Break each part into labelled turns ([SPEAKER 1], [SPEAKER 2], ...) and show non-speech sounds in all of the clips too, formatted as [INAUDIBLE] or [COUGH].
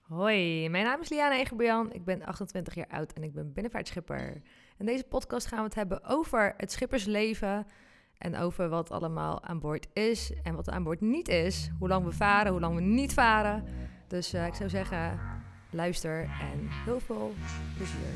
[SPEAKER 1] Hoi, mijn naam is Liana Egerbejan. Ik ben 28 jaar oud en ik ben binnenvaartschipper. In deze podcast gaan we het hebben over het schippersleven en over wat allemaal aan boord is en wat aan boord niet is. Hoe lang we varen, hoe lang we niet varen. Dus eh, ik zou zeggen, luister en heel veel plezier.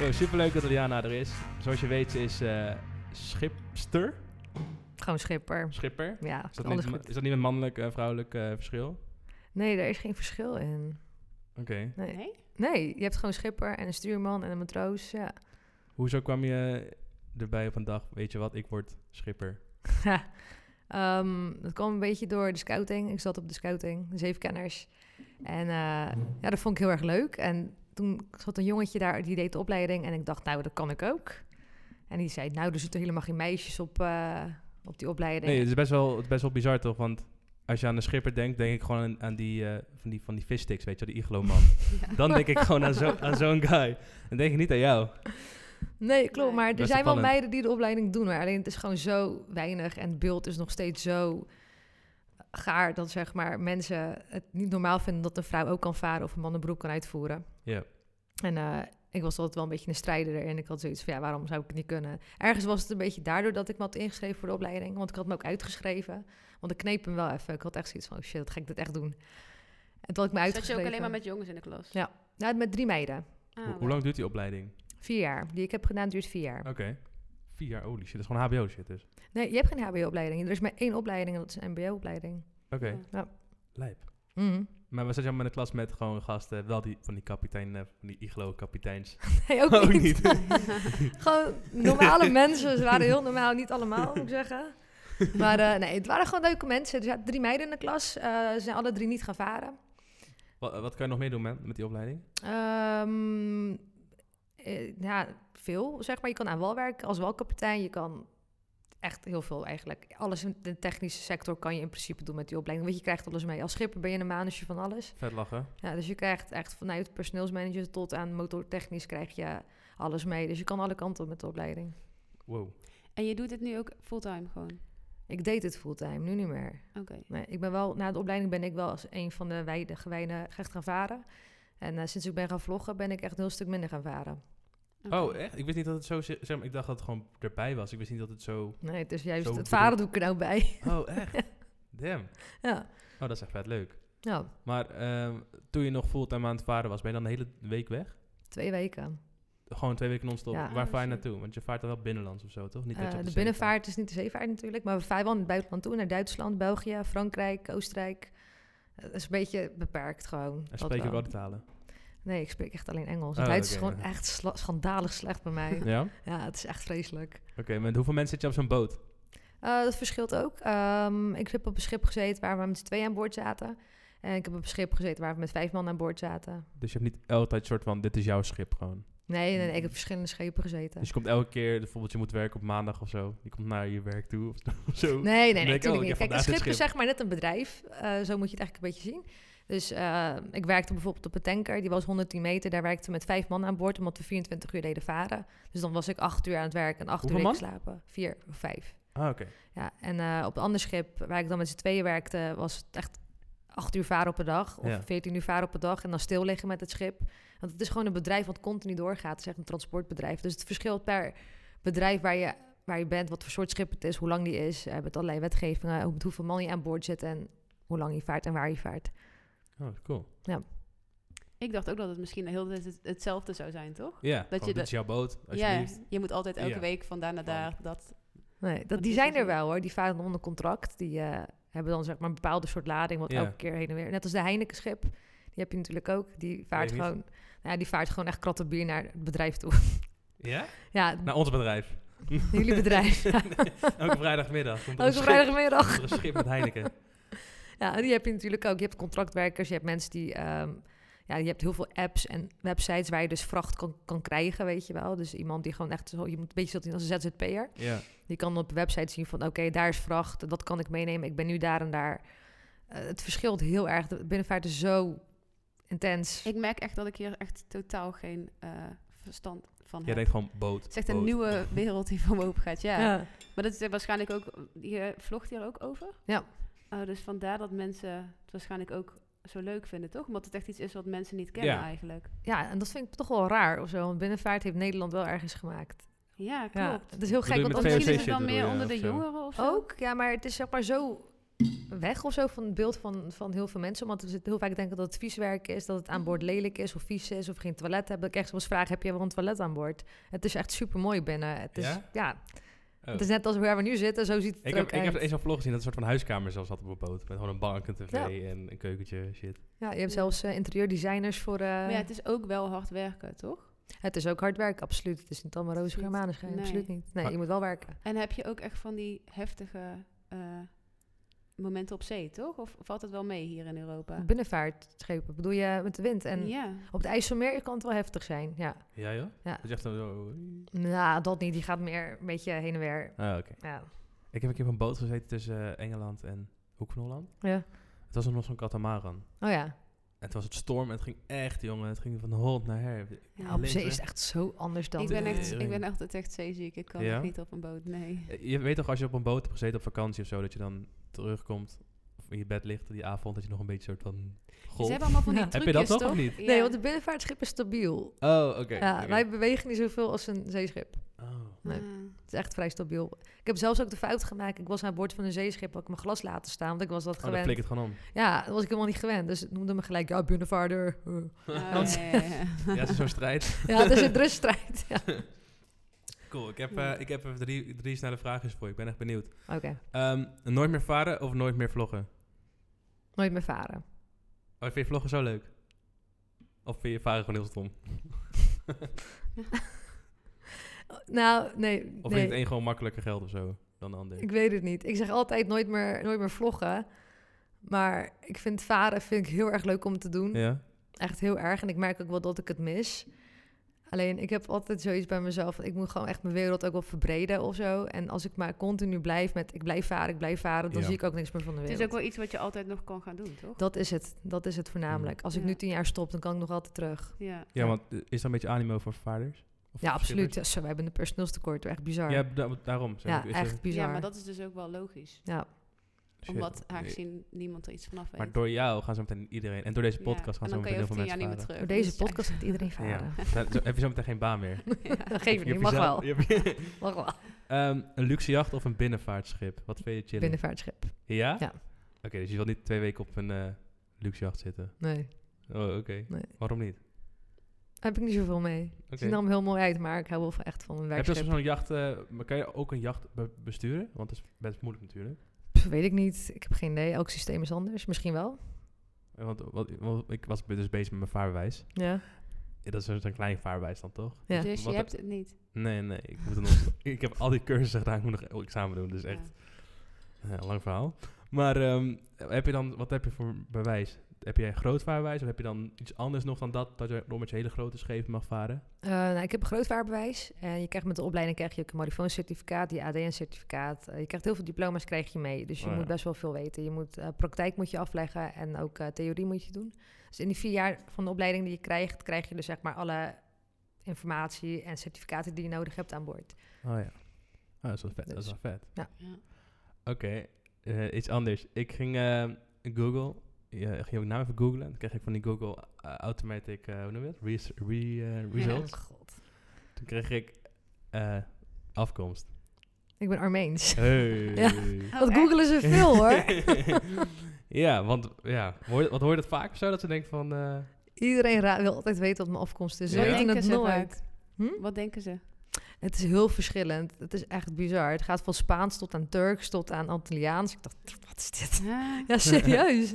[SPEAKER 2] Yo, superleuk dat Liana er is. Zoals je weet, ze is eh, schipster,
[SPEAKER 1] Gewoon schipper.
[SPEAKER 2] schipper.
[SPEAKER 1] Ja,
[SPEAKER 2] Is dat,
[SPEAKER 1] alles
[SPEAKER 2] niet, ma-
[SPEAKER 1] goed.
[SPEAKER 2] is dat niet een mannelijk en vrouwelijk eh, verschil? Oké.
[SPEAKER 1] Nee, er is geen verschil in. Nee.
[SPEAKER 3] Nee?
[SPEAKER 1] nee, je hebt gewoon schipper en een stuurman en een matroos. Ja.
[SPEAKER 2] Hoezo kwam je erbij op een dag, weet je wat, ik word schipper?
[SPEAKER 1] Ja, Ehm, dat kwam een beetje door de scouting. Ik zat op de scouting, de zevenkenners. En eh, ja, dat vond ik heel erg leuk. En toen zat een jongetje daar, die deed de opleiding. En ik dacht, nou, dat kan ik ook. En die zei, nou, er zitten helemaal geen meisjes op, eh, op die opleiding.
[SPEAKER 2] Nee, het is best wel, het is best wel bizar toch, want... Als je aan een schipper denkt, denk ik gewoon aan, aan die, eh, van die, van die vissticks, weet je wel, die
[SPEAKER 3] [LAUGHS]
[SPEAKER 2] iglo-man. [LAUGHS] Dan denk ik gewoon aan zo- aan zo'n guy. Dan denk ik niet aan jou.
[SPEAKER 3] Ah,
[SPEAKER 1] Nee, klopt.
[SPEAKER 3] Nee.
[SPEAKER 1] Maar er
[SPEAKER 2] Best
[SPEAKER 1] zijn wel
[SPEAKER 2] opvallend.
[SPEAKER 1] meiden die de opleiding doen. Maar alleen het is gewoon zo weinig. En het beeld is nog steeds zo gaar dat zeg maar, mensen het niet normaal vinden dat een vrouw ook kan varen of een man een beroep kan uitvoeren.
[SPEAKER 2] Ja.
[SPEAKER 1] En eh, ik was altijd wel een beetje een strijder en ik had zoiets van ja, waarom zou ik het niet kunnen? Ergens was het een beetje daardoor dat ik me had ingeschreven voor de opleiding, want ik had me ook uitgeschreven. Want ik kneep hem wel even. Ik had echt zoiets van oh shit, dat ga ik dit echt doen. En toen had ik me
[SPEAKER 3] Zat
[SPEAKER 1] uitgeschreven.
[SPEAKER 3] je ook alleen maar met jongens in de klas?
[SPEAKER 1] Ja. Nou, met drie meiden.
[SPEAKER 3] Ah,
[SPEAKER 2] Hoe-
[SPEAKER 3] wauw.
[SPEAKER 2] hoe lang duurt die opleiding?
[SPEAKER 1] Vier jaar. Die ik heb gedaan duurt vier jaar.
[SPEAKER 2] Oké. Vier jaar, holy shit. Dat is gewoon hbo-shit dus.
[SPEAKER 1] Nee, je hebt geen HBO-opleiding. Er is maar één opleiding en dat is een MBO-opleiding.
[SPEAKER 2] Oké.
[SPEAKER 3] Ja.
[SPEAKER 2] Lijp. Maar we zaten allemaal in de klas met gewoon gasten, wel die van die kapitein, eh, van die iglo-kapiteins.
[SPEAKER 1] [LAUGHS] Nee, ook, niet. [LAUGHS] gewoon normale mensen. Ze waren heel normaal, niet allemaal, moet ik zeggen. Maar eh, nee, het waren gewoon leuke mensen. Er zaten drie meiden in de klas. Eh, ze zijn alle drie niet gaan varen.
[SPEAKER 2] Wat, eh, wat kan je nog meer doen man, met die opleiding?
[SPEAKER 1] Ehm, eh, ja, veel, zeg maar. Je kan aan wal werken als walkapitein. Je kan echt heel veel eigenlijk. Alles in de technische sector kan je in principe doen met die opleiding. Want je krijgt alles mee. Als schipper ben je een manusje van alles.
[SPEAKER 2] Vet lachen.
[SPEAKER 1] Ja, dus je krijgt echt vanuit personeelsmanager tot aan motortechnisch krijg je alles mee. Dus je kan alle kanten op met de opleiding.
[SPEAKER 2] Wow.
[SPEAKER 3] En je doet dit nu ook fulltime gewoon?
[SPEAKER 1] Ik deed het fulltime, nu niet meer.
[SPEAKER 3] Oké.
[SPEAKER 1] Nee, ik ben wel, na de opleiding ben ik wel als een van de weide- gewijnen echt gaan varen. En eh, sinds ik ben gaan vloggen ben ik echt een heel stuk minder gaan varen.
[SPEAKER 3] oké.
[SPEAKER 2] Oh, echt? Ik wist niet dat het zo, zi- zeg maar, ik dacht dat het gewoon erbij was. Ik wist niet dat het [LAUGHS] zo...
[SPEAKER 1] Nee, het is juist,
[SPEAKER 2] Zo
[SPEAKER 1] het
[SPEAKER 2] bedoel-
[SPEAKER 1] varen doe ik er nou bij. [LAUGHS]
[SPEAKER 2] Oh, echt? Damn.
[SPEAKER 1] ja,
[SPEAKER 2] Oh, dat is echt vet leuk.
[SPEAKER 1] nou,
[SPEAKER 2] Maar ehm, toen je nog fulltime aan het varen was, ben je dan de hele week weg?
[SPEAKER 1] twee weken.
[SPEAKER 2] Gewoon twee weken non-stop.
[SPEAKER 1] Ja.
[SPEAKER 2] Waar
[SPEAKER 3] Oh,
[SPEAKER 2] vaar je
[SPEAKER 3] shit.
[SPEAKER 2] naartoe? Want je vaart dan wel binnenlands of zo, toch? Niet dat je
[SPEAKER 1] Eh, de
[SPEAKER 2] op zee
[SPEAKER 1] binnenvaart is niet de zeevaart natuurlijk, maar we varen wel in het buitenland toe. Naar Duitsland, België, Frankrijk, Oostenrijk. Eh, Dat is een beetje beperkt gewoon.
[SPEAKER 2] vaart. En
[SPEAKER 1] dat
[SPEAKER 2] spreek je ook
[SPEAKER 1] wel.
[SPEAKER 2] alle talen?
[SPEAKER 1] Nee, ik spreek echt alleen Engels.
[SPEAKER 2] Oh,
[SPEAKER 1] Het Duits
[SPEAKER 2] oké,
[SPEAKER 1] is gewoon
[SPEAKER 2] ja.
[SPEAKER 1] echt sla- schandalig slecht bij
[SPEAKER 2] [LAUGHS]
[SPEAKER 1] mij.
[SPEAKER 2] Ja? Oké,
[SPEAKER 1] ja, het is echt vreselijk.
[SPEAKER 2] met hoeveel mensen zit je op zo'n boot?
[SPEAKER 1] Eh, dat verschilt ook. Ehm, ik heb op een schip gezeten waar we met z'n tweeën aan boord zaten. En ik heb op een schip gezeten waar we met vijf man aan boord zaten.
[SPEAKER 2] Dus je hebt niet altijd soort van, dit is jouw schip gewoon.
[SPEAKER 1] Nee, nee, nee ik heb op verschillende schepen gezeten.
[SPEAKER 2] Dus je komt elke keer, bijvoorbeeld je moet werken op maandag of zo. Je komt naar je werk toe of [LAUGHS] zo.
[SPEAKER 1] Nee, nee, nee,
[SPEAKER 2] Dan denk ik, oh,
[SPEAKER 1] natuurlijk
[SPEAKER 2] ik
[SPEAKER 1] niet.
[SPEAKER 2] heb
[SPEAKER 1] Kijk, een
[SPEAKER 2] vandaag dit
[SPEAKER 1] schip is
[SPEAKER 2] schip.
[SPEAKER 1] zeg maar net een bedrijf. Eh, zo moet je het eigenlijk een beetje zien. Dus eh, ik werkte bijvoorbeeld op een tanker, die was 110 meter. Daar werkten we met vijf man aan boord, omdat we 24 uur deden varen. Dus dan was ik acht uur aan het werk en acht
[SPEAKER 2] Hoeveel
[SPEAKER 1] uur
[SPEAKER 2] man?
[SPEAKER 1] deed ik slapen. Vier of vijf.
[SPEAKER 2] Ah, oké.
[SPEAKER 1] Ja, en eh, op een ander schip waar ik dan met z'n tweeën werkte, was het echt acht uur varen op een dag of
[SPEAKER 2] Ja.
[SPEAKER 1] 14 uur varen op een dag en dan stil liggen met het schip. Want het is gewoon een bedrijf wat continu doorgaat. Het is echt een transportbedrijf. Dus het verschilt per bedrijf waar je, waar je bent, wat voor soort schip het is, hoe lang die is, eh, met allerlei wetgevingen, hoe- met hoeveel man je aan boord zit en hoe lang je vaart en waar je vaart.
[SPEAKER 2] Oh, cool.
[SPEAKER 3] Ik dacht ook dat het misschien de hele tijd het- hetzelfde zou zijn, toch?
[SPEAKER 2] Ja, dat
[SPEAKER 3] je
[SPEAKER 2] dit
[SPEAKER 3] dat-
[SPEAKER 2] is jouw boot,
[SPEAKER 3] Ja,
[SPEAKER 2] alsjeblieft.
[SPEAKER 3] je moet altijd elke
[SPEAKER 2] Ja. Oh.
[SPEAKER 3] week van daar naar
[SPEAKER 2] Van-
[SPEAKER 3] daar. Dat,
[SPEAKER 1] Nee, dat,
[SPEAKER 3] Dat
[SPEAKER 1] die
[SPEAKER 3] is
[SPEAKER 1] zijn er
[SPEAKER 3] natuurlijk-
[SPEAKER 1] wel hoor. Die varen onder contract. Die eh, hebben dan zeg maar een bepaalde soort lading, wat
[SPEAKER 2] Ja.
[SPEAKER 1] elke keer heen en weer. Net als de Heineken schip. Die heb je natuurlijk ook. Die vaart
[SPEAKER 2] niet.
[SPEAKER 1] gewoon, nou ja, die vaart gewoon echt kratten bier naar het bedrijf toe.
[SPEAKER 2] Ja?
[SPEAKER 1] ja,
[SPEAKER 2] Naar ons
[SPEAKER 3] [LAUGHS]
[SPEAKER 2] bedrijf.
[SPEAKER 1] jullie
[SPEAKER 2] [LAUGHS]
[SPEAKER 1] bedrijf.
[SPEAKER 2] Elke vrijdagmiddag. Komt er
[SPEAKER 1] Ook
[SPEAKER 2] een
[SPEAKER 1] op
[SPEAKER 2] schip-
[SPEAKER 1] vrijdagmiddag.
[SPEAKER 2] komt er een schip met Heineken.
[SPEAKER 1] Ja, die heb je natuurlijk ook. Je hebt contractwerkers, je hebt mensen die. ehm, ja, je hebt heel veel apps en websites waar je dus vracht kan, kan krijgen, weet je wel. Dus iemand die gewoon echt zo, je moet een beetje zo zien als een ZZP'er.
[SPEAKER 2] Ja.
[SPEAKER 1] Die kan op de website zien van oké, daar is vracht, dat kan ik meenemen. Ik ben nu daar en daar. Eh, het verschilt heel erg. De binnenvaart is zo intens.
[SPEAKER 3] Ik merk echt dat ik hier echt totaal geen eh, verstand van
[SPEAKER 2] Jij
[SPEAKER 3] heb.
[SPEAKER 2] denkt gewoon boot.
[SPEAKER 3] Het is echt een
[SPEAKER 2] boot.
[SPEAKER 3] nieuwe
[SPEAKER 2] [LAUGHS]
[SPEAKER 3] wereld die voor me open gaat, ja.
[SPEAKER 1] Ja.
[SPEAKER 3] Maar dat is eh, waarschijnlijk ook... Je vlogt hier ook over?
[SPEAKER 1] Ja.
[SPEAKER 3] Oh, dus vandaar dat mensen het waarschijnlijk ook zo leuk vinden, toch? Omdat het echt iets is wat mensen niet kennen
[SPEAKER 2] Ja.
[SPEAKER 3] eigenlijk.
[SPEAKER 1] ja, en dat vind ik toch wel raar of zo. Want binnenvaart heeft Nederland wel ergens gemaakt.
[SPEAKER 3] Ja,
[SPEAKER 1] Ja,
[SPEAKER 3] klopt.
[SPEAKER 1] het is heel
[SPEAKER 2] Bedoel
[SPEAKER 1] gek.
[SPEAKER 2] je
[SPEAKER 1] Want
[SPEAKER 2] met
[SPEAKER 1] misschien
[SPEAKER 3] Misschien
[SPEAKER 2] VOC
[SPEAKER 1] is
[SPEAKER 3] is
[SPEAKER 1] het
[SPEAKER 2] shit bedoel
[SPEAKER 3] het dan meer
[SPEAKER 2] je, of
[SPEAKER 3] onder de
[SPEAKER 2] zo?
[SPEAKER 3] jongeren of zo?
[SPEAKER 1] ook, ja, maar het is zeg maar zo weg of zo van het beeld van, van heel veel mensen. Want we zitten heel vaak denken dat het vies werk is, dat het aan boord lelijk is of vies is of geen toilet hebben. Dat ik echt soms vraag, heb je wel een toilet aan boord? Het is echt super mooi binnen. Het is,
[SPEAKER 2] Ja?
[SPEAKER 1] ja?
[SPEAKER 2] Oh.
[SPEAKER 1] het is net als waar we nu zitten, zo ziet het
[SPEAKER 2] Ik
[SPEAKER 1] er
[SPEAKER 2] heb,
[SPEAKER 1] ook
[SPEAKER 2] ik heb
[SPEAKER 1] uit.
[SPEAKER 2] eens een vlog gezien dat een soort van huiskamer zelfs had op een boot. Met gewoon een bank, een tv
[SPEAKER 1] Ja.
[SPEAKER 2] en een keukentje, shit.
[SPEAKER 1] Ja, je hebt zelfs eh, interieurdesigners voor... eh,
[SPEAKER 3] Maar ja, het is ook wel hard werken, toch?
[SPEAKER 1] Het is ook hard werk, absoluut. Het is niet allemaal roze
[SPEAKER 3] Absoluut.
[SPEAKER 1] germanen schijn,
[SPEAKER 3] Nee.
[SPEAKER 1] absoluut niet. Nee,
[SPEAKER 2] Maar-
[SPEAKER 1] je moet wel werken.
[SPEAKER 3] En heb je ook echt van die heftige eh, momenten op zee, toch? Of valt het wel mee hier in Europa?
[SPEAKER 1] Binnenvaartschepen, bedoel je met de wind. En
[SPEAKER 3] ja.
[SPEAKER 1] op het IJsselmeer kan het wel heftig zijn, ja.
[SPEAKER 2] Ja, joh?
[SPEAKER 1] Ja.
[SPEAKER 2] Dat is echt een... zo-
[SPEAKER 1] Nou, dat niet. Die gaat meer een beetje heen en weer.
[SPEAKER 2] Ah, oké.
[SPEAKER 1] Ja.
[SPEAKER 2] Ik heb een keer op een boot gezeten tussen eh, Engeland en Hoek van Holland.
[SPEAKER 1] ja.
[SPEAKER 2] Het was nog zo'n katamaran.
[SPEAKER 1] Oh ja.
[SPEAKER 2] En toen was het storm en het ging echt, jongen. Het ging van hond naar her.
[SPEAKER 3] Ja,
[SPEAKER 1] ja Nou, op
[SPEAKER 2] links,
[SPEAKER 1] zee
[SPEAKER 2] hè?
[SPEAKER 1] is het echt zo anders dan...
[SPEAKER 3] Ik ben,
[SPEAKER 2] Tering.
[SPEAKER 3] echt, ik ben altijd echt zeeziek. Ik kan
[SPEAKER 2] Ja?
[SPEAKER 3] echt niet op een boot, nee.
[SPEAKER 2] Eh, Je weet toch, als je op een boot hebt gezeten op vakantie of zo, dat je dan terugkomt of in je bed ligt die avond, dat je nog een beetje soort van
[SPEAKER 3] Ze
[SPEAKER 2] golf.
[SPEAKER 3] hebben allemaal van die
[SPEAKER 1] Ja.
[SPEAKER 2] [LAUGHS] Heb
[SPEAKER 3] trucjes,
[SPEAKER 2] je dat nog
[SPEAKER 3] toch?
[SPEAKER 2] of niet?
[SPEAKER 3] Ja.
[SPEAKER 1] Nee, want het binnenvaartschip is stabiel.
[SPEAKER 2] Oh, oké.
[SPEAKER 1] ja,
[SPEAKER 2] oké.
[SPEAKER 1] Wij bewegen niet zoveel als een zeeschip.
[SPEAKER 2] Oh. [LAUGHS]
[SPEAKER 1] Nee.
[SPEAKER 3] Ah.
[SPEAKER 1] Het is echt vrij stabiel. Ik heb zelfs ook de fout gemaakt. Ik was aan boord van een zeeschip, had ik mijn glas laten staan, want ik was dat
[SPEAKER 2] Oh, dan
[SPEAKER 1] gewend.
[SPEAKER 2] flik het
[SPEAKER 1] [LAUGHS]
[SPEAKER 2] gewoon om.
[SPEAKER 1] ja, dat was ik helemaal niet gewend. Dus het noemde me gelijk, ja, binnenvaarder. eh.
[SPEAKER 3] Ah,
[SPEAKER 1] [LAUGHS]
[SPEAKER 3] ja, ja, ja.
[SPEAKER 2] Ja, het is zo'n strijd.
[SPEAKER 1] Ja, het is
[SPEAKER 2] [LAUGHS]
[SPEAKER 1] een ruststrijd. Ja.
[SPEAKER 2] Cool, ik heb, eh, ik heb even drie, drie snelle vragen voor je. Ik ben echt benieuwd.
[SPEAKER 1] Oké,
[SPEAKER 2] Ehm, nooit meer varen of nooit meer vloggen?
[SPEAKER 1] nooit meer varen.
[SPEAKER 2] Oh, vind je vloggen zo leuk? Of vind je varen gewoon heel stom?
[SPEAKER 1] Nou, nee. nee.
[SPEAKER 2] Of vind je het een gewoon makkelijker geld of zo dan de ander?
[SPEAKER 1] Ik weet het niet. Ik zeg altijd nooit meer, nooit meer vloggen. Maar ik vind varen vind ik heel erg leuk om te doen.
[SPEAKER 2] Ja?
[SPEAKER 1] Echt heel erg. En ik merk ook wel dat ik het mis. Alleen ik heb altijd zoiets bij mezelf. van, Ik moet gewoon echt mijn wereld ook wel verbreden of zo. En als ik maar continu blijf met ik blijf varen, ik blijf varen, dan
[SPEAKER 2] Ja.
[SPEAKER 1] zie ik ook niks meer van de
[SPEAKER 3] Het
[SPEAKER 1] wereld.
[SPEAKER 3] is ook wel iets wat je altijd nog kan gaan doen, toch?
[SPEAKER 1] Dat is het. Dat is het voornamelijk. Als ik
[SPEAKER 3] Ja.
[SPEAKER 1] nu tien jaar stop, dan kan ik nog altijd terug.
[SPEAKER 3] Ja.
[SPEAKER 2] Ja, want eh, is er een beetje animo voor vaarders? Of
[SPEAKER 1] Ja,
[SPEAKER 2] voor
[SPEAKER 1] absoluut.
[SPEAKER 2] schippers?
[SPEAKER 1] Ja, zo, we hebben een personeelstekort. Echt bizar.
[SPEAKER 2] Ja,
[SPEAKER 1] Ja,
[SPEAKER 2] da- daarom. zeg ik, is er-
[SPEAKER 1] echt bizar.
[SPEAKER 3] ja, maar dat is dus ook wel logisch.
[SPEAKER 1] Ja.
[SPEAKER 2] shit.
[SPEAKER 3] Omdat
[SPEAKER 2] Nee.
[SPEAKER 3] aangezien niemand er iets vanaf weet.
[SPEAKER 2] Maar door jou gaan zo meteen iedereen. En door deze
[SPEAKER 3] Ja,
[SPEAKER 2] podcast gaan
[SPEAKER 3] en
[SPEAKER 2] zo
[SPEAKER 3] dan kan
[SPEAKER 2] meteen
[SPEAKER 3] je
[SPEAKER 2] heel veel
[SPEAKER 3] over tien jaar
[SPEAKER 2] mensen
[SPEAKER 3] niet
[SPEAKER 2] varen.
[SPEAKER 3] meer terug.
[SPEAKER 1] Door deze
[SPEAKER 3] Dus ja,
[SPEAKER 1] podcast gaat iedereen
[SPEAKER 2] Ja.
[SPEAKER 1] [LAUGHS] varen.
[SPEAKER 2] Nou, zo- heb je zo meteen geen baan
[SPEAKER 1] [LAUGHS]
[SPEAKER 2] meer.
[SPEAKER 1] Dat geeft
[SPEAKER 2] Je
[SPEAKER 1] niet.
[SPEAKER 2] hebt
[SPEAKER 1] Mag
[SPEAKER 2] jezelf-
[SPEAKER 1] wel.
[SPEAKER 2] je hebt- [LAUGHS]
[SPEAKER 1] Mag wel.
[SPEAKER 2] Ehm, een luxe jacht of een binnenvaartschip? Wat vind je chillen?
[SPEAKER 1] Binnenvaartschip.
[SPEAKER 2] Ja?
[SPEAKER 1] Ja.
[SPEAKER 2] Oké, dus je wil niet twee weken op een eh luxe jacht zitten.
[SPEAKER 1] Nee,
[SPEAKER 2] Oh, oké.
[SPEAKER 1] Nee.
[SPEAKER 2] Waarom niet?
[SPEAKER 1] daar heb ik niet zoveel mee. Het ziet er allemaal heel mooi uit, maar ik hou wel van- echt van een
[SPEAKER 2] Heb je
[SPEAKER 1] werkschip.
[SPEAKER 2] als zo'n jacht, eh, maar kan je ook een jacht be- besturen? Want dat is best moeilijk natuurlijk.
[SPEAKER 1] Pff, weet ik niet. Ik heb geen idee. Elk systeem is anders. Misschien wel.
[SPEAKER 2] Eh, Want, wat- want ik was dus bezig met mijn vaarbewijs.
[SPEAKER 1] Ja.
[SPEAKER 2] Eh, Dat is een klein vaarbewijs dan toch?
[SPEAKER 1] Ja.
[SPEAKER 3] Dus je
[SPEAKER 2] Wat-
[SPEAKER 3] hebt het niet.
[SPEAKER 2] Nee, nee. Ik, moet er nog, [LAUGHS] ik heb al die cursussen gedaan. Ik moet nog examen doen. Dus echt Ja, Eh, lang verhaal. Maar ehm, heb je dan, wat heb je voor bewijs? Heb jij een groot vaarbewijs of heb je dan iets anders nog dan dat, dat je nog met je hele grote schepen mag varen?
[SPEAKER 1] Eh, nou, ik heb een groot vaarbewijs. En je krijgt met de opleiding krijg je ook een marifooncertificaat, je ADN-certificaat. Eh, je krijgt heel veel diploma's krijg je mee. Dus je
[SPEAKER 2] Oh ja.
[SPEAKER 1] moet best wel veel weten. Je moet, eh, praktijk moet je afleggen en ook eh, theorie moet je doen. Dus in die vier jaar van de opleiding die je krijgt, krijg je dus zeg maar alle informatie en certificaten die je nodig hebt aan boord.
[SPEAKER 2] Oh ja. dat is wel vet. Dat is
[SPEAKER 1] Dus-
[SPEAKER 2] wel vet.
[SPEAKER 3] Ja.
[SPEAKER 2] Oké, eh, iets anders. Ik ging ehm, Google, ja, ik ging ook naam even googlen. Dan kreeg ik van die Google eh, Automatic, eh, hoe noem je dat? Res- re, eh, results.
[SPEAKER 1] Oh, God.
[SPEAKER 2] Toen kreeg ik eh,
[SPEAKER 1] [LAUGHS]
[SPEAKER 2] afkomst.
[SPEAKER 1] Ik ben Armeens.
[SPEAKER 2] Hey.
[SPEAKER 1] Ja.
[SPEAKER 3] Oh,
[SPEAKER 1] Dat
[SPEAKER 3] echt?
[SPEAKER 1] googelen ze veel hoor.
[SPEAKER 2] [LAUGHS]
[SPEAKER 3] [LAUGHS]
[SPEAKER 2] ja, want ja, hoor, je- wat hoor je dat vaak of zo? Dat ze denken van... eh,
[SPEAKER 1] Iedereen ra- wil altijd weten wat mijn afkomst is. Ze
[SPEAKER 2] Ja.
[SPEAKER 1] weten
[SPEAKER 3] Denken
[SPEAKER 1] het
[SPEAKER 3] ze
[SPEAKER 1] nooit. Hm?
[SPEAKER 3] Wat denken ze?
[SPEAKER 1] Het is heel verschillend. Het is echt bizar. Het gaat van Spaans tot aan Turks tot aan Antilliaans. Ik dacht, "Pff, wat is dit? [LAUGHS]
[SPEAKER 3] Ah.
[SPEAKER 1] [LAUGHS] Ja,
[SPEAKER 2] [LAUGHS]
[SPEAKER 1] serieus.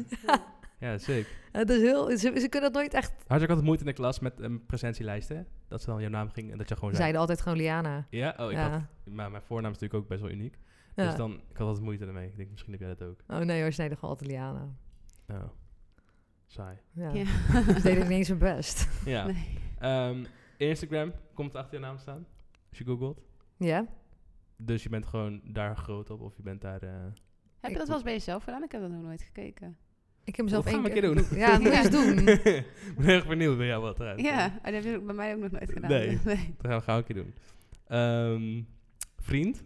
[SPEAKER 2] ja, sick.
[SPEAKER 1] het is heel, ze, ze kunnen dat nooit echt...
[SPEAKER 2] Had je ook altijd moeite in de klas met een presentielijsten? Dat ze dan jouw naam ging en dat je gewoon zei.
[SPEAKER 1] zeiden altijd gewoon Liana.
[SPEAKER 2] Ja, oh, ik
[SPEAKER 1] ja.
[SPEAKER 2] had, maar mijn voornaam is natuurlijk ook best wel uniek.
[SPEAKER 1] Ja.
[SPEAKER 2] Dus dan, ik had altijd moeite ermee. Ik denk, misschien heb jij dat ook.
[SPEAKER 1] Oh nee hoor, ze deden gewoon altijd Liana.
[SPEAKER 2] Oh. Saai.
[SPEAKER 1] Ja.
[SPEAKER 3] [LAUGHS] Ja.
[SPEAKER 1] Ze deden niet eens hun best.
[SPEAKER 2] Ja.
[SPEAKER 3] Nee.
[SPEAKER 2] Ehm, Instagram komt achter je naam staan. Als je googelt.
[SPEAKER 1] Ja?
[SPEAKER 2] Dus je bent gewoon daar groot op of je bent daar... eh,
[SPEAKER 3] Heb je dat wel eens bij jezelf gedaan? Ik heb dat nog nooit gekeken.
[SPEAKER 1] Ik heb hem zelf
[SPEAKER 2] Dat gaan
[SPEAKER 1] één
[SPEAKER 2] we
[SPEAKER 1] keer
[SPEAKER 2] een keer
[SPEAKER 1] gedoet. Ja, moet je
[SPEAKER 2] [LAUGHS]
[SPEAKER 1] eens doen.
[SPEAKER 2] ik ben erg benieuwd bij jou wat eruit
[SPEAKER 3] Ja,
[SPEAKER 2] komt.
[SPEAKER 3] en dat heb je ook bij mij ook nog nooit gedaan. [LAUGHS]
[SPEAKER 2] Nee. Dus Dat gaan we gauw een keer doen. Ehm, vriend?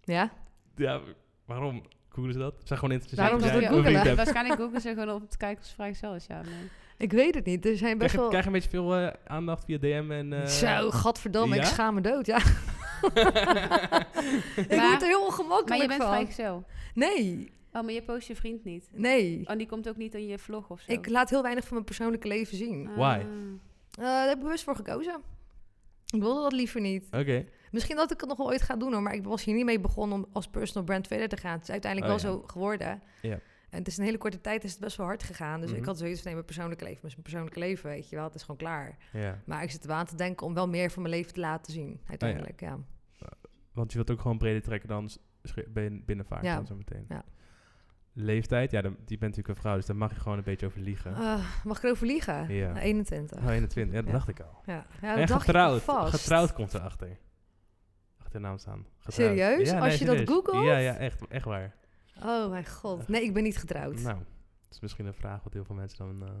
[SPEAKER 1] Ja?
[SPEAKER 2] Ja, waarom? Googlen ze dat? Ze zijn gewoon interessant.
[SPEAKER 1] Waarom
[SPEAKER 2] dat
[SPEAKER 1] zou
[SPEAKER 2] jij
[SPEAKER 1] je
[SPEAKER 2] een vriend
[SPEAKER 1] googlen?
[SPEAKER 2] hebt.
[SPEAKER 3] Waarschijnlijk googelen ze gewoon op het kijkersvraag zelf. is, Ja, nee.
[SPEAKER 1] Ik weet het niet. Er zijn
[SPEAKER 2] Krijg,
[SPEAKER 1] best
[SPEAKER 2] je-
[SPEAKER 1] wel...
[SPEAKER 2] krijg je een beetje veel eh, aandacht via DM en... eh,
[SPEAKER 1] Zo, gadverdamme, ik
[SPEAKER 2] ja?
[SPEAKER 1] schaam me
[SPEAKER 2] [LAUGHS]
[SPEAKER 1] dood. Ja. ik
[SPEAKER 3] Maar-
[SPEAKER 1] word er heel
[SPEAKER 3] Maar je
[SPEAKER 1] ongemakkelijk
[SPEAKER 3] bent
[SPEAKER 1] van.
[SPEAKER 3] vrijgezel.
[SPEAKER 1] Nee,
[SPEAKER 3] Oh, maar je post je vriend niet.
[SPEAKER 1] nee.
[SPEAKER 3] Oh, die komt ook niet in je vlog of zo.
[SPEAKER 1] Ik laat heel weinig van mijn persoonlijke leven zien.
[SPEAKER 3] Ah.
[SPEAKER 2] Why?
[SPEAKER 1] Eh, daar heb ik bewust voor gekozen. Ik wilde dat liever niet.
[SPEAKER 2] Oké.
[SPEAKER 1] Misschien dat ik het nog wel ooit ga doen hoor, maar ik was hier niet mee begonnen om als personal brand verder te gaan. Het is uiteindelijk
[SPEAKER 2] Oh,
[SPEAKER 1] wel
[SPEAKER 2] ja.
[SPEAKER 1] zo geworden.
[SPEAKER 2] Ja.
[SPEAKER 1] En het is een hele korte tijd is het best wel hard gegaan. Dus
[SPEAKER 2] Mhm.
[SPEAKER 1] ik had zoiets van nee, mijn persoonlijke leven, is mijn persoonlijke leven, weet je wel, het is gewoon klaar.
[SPEAKER 2] Ja.
[SPEAKER 1] Maar ik zit er wel aan te denken om wel meer van mijn leven te laten zien,
[SPEAKER 2] Oh,
[SPEAKER 1] uiteindelijk. ja.
[SPEAKER 2] Want je wilt ook gewoon breder trekken dan s- sch- bin- binnenvaart
[SPEAKER 1] Ja.
[SPEAKER 2] dan zo meteen.
[SPEAKER 1] Ja.
[SPEAKER 2] Leeftijd? Ja, dan, die bent natuurlijk een vrouw, dus daar mag je gewoon een beetje over liegen.
[SPEAKER 1] Eh, mag ik erover liegen?
[SPEAKER 2] Ja.
[SPEAKER 1] 21.
[SPEAKER 2] Oh, 21. Ja, dat
[SPEAKER 1] Ja.
[SPEAKER 2] dacht ik al.
[SPEAKER 1] Ja, ja
[SPEAKER 2] en
[SPEAKER 1] dat dacht
[SPEAKER 2] getrouwd.
[SPEAKER 1] ik al vast.
[SPEAKER 2] Getrouwd komt erachter. Achter de naam staan. Getrouwd.
[SPEAKER 1] Serieus?
[SPEAKER 2] Ja,
[SPEAKER 1] Als
[SPEAKER 2] nee,
[SPEAKER 1] je dat
[SPEAKER 2] serieus.
[SPEAKER 1] googelt?
[SPEAKER 2] Ja, ja echt, echt waar.
[SPEAKER 1] Oh mijn god. Nee, ik ben niet getrouwd.
[SPEAKER 2] Nou, dat is misschien een vraag wat heel veel mensen dan eh,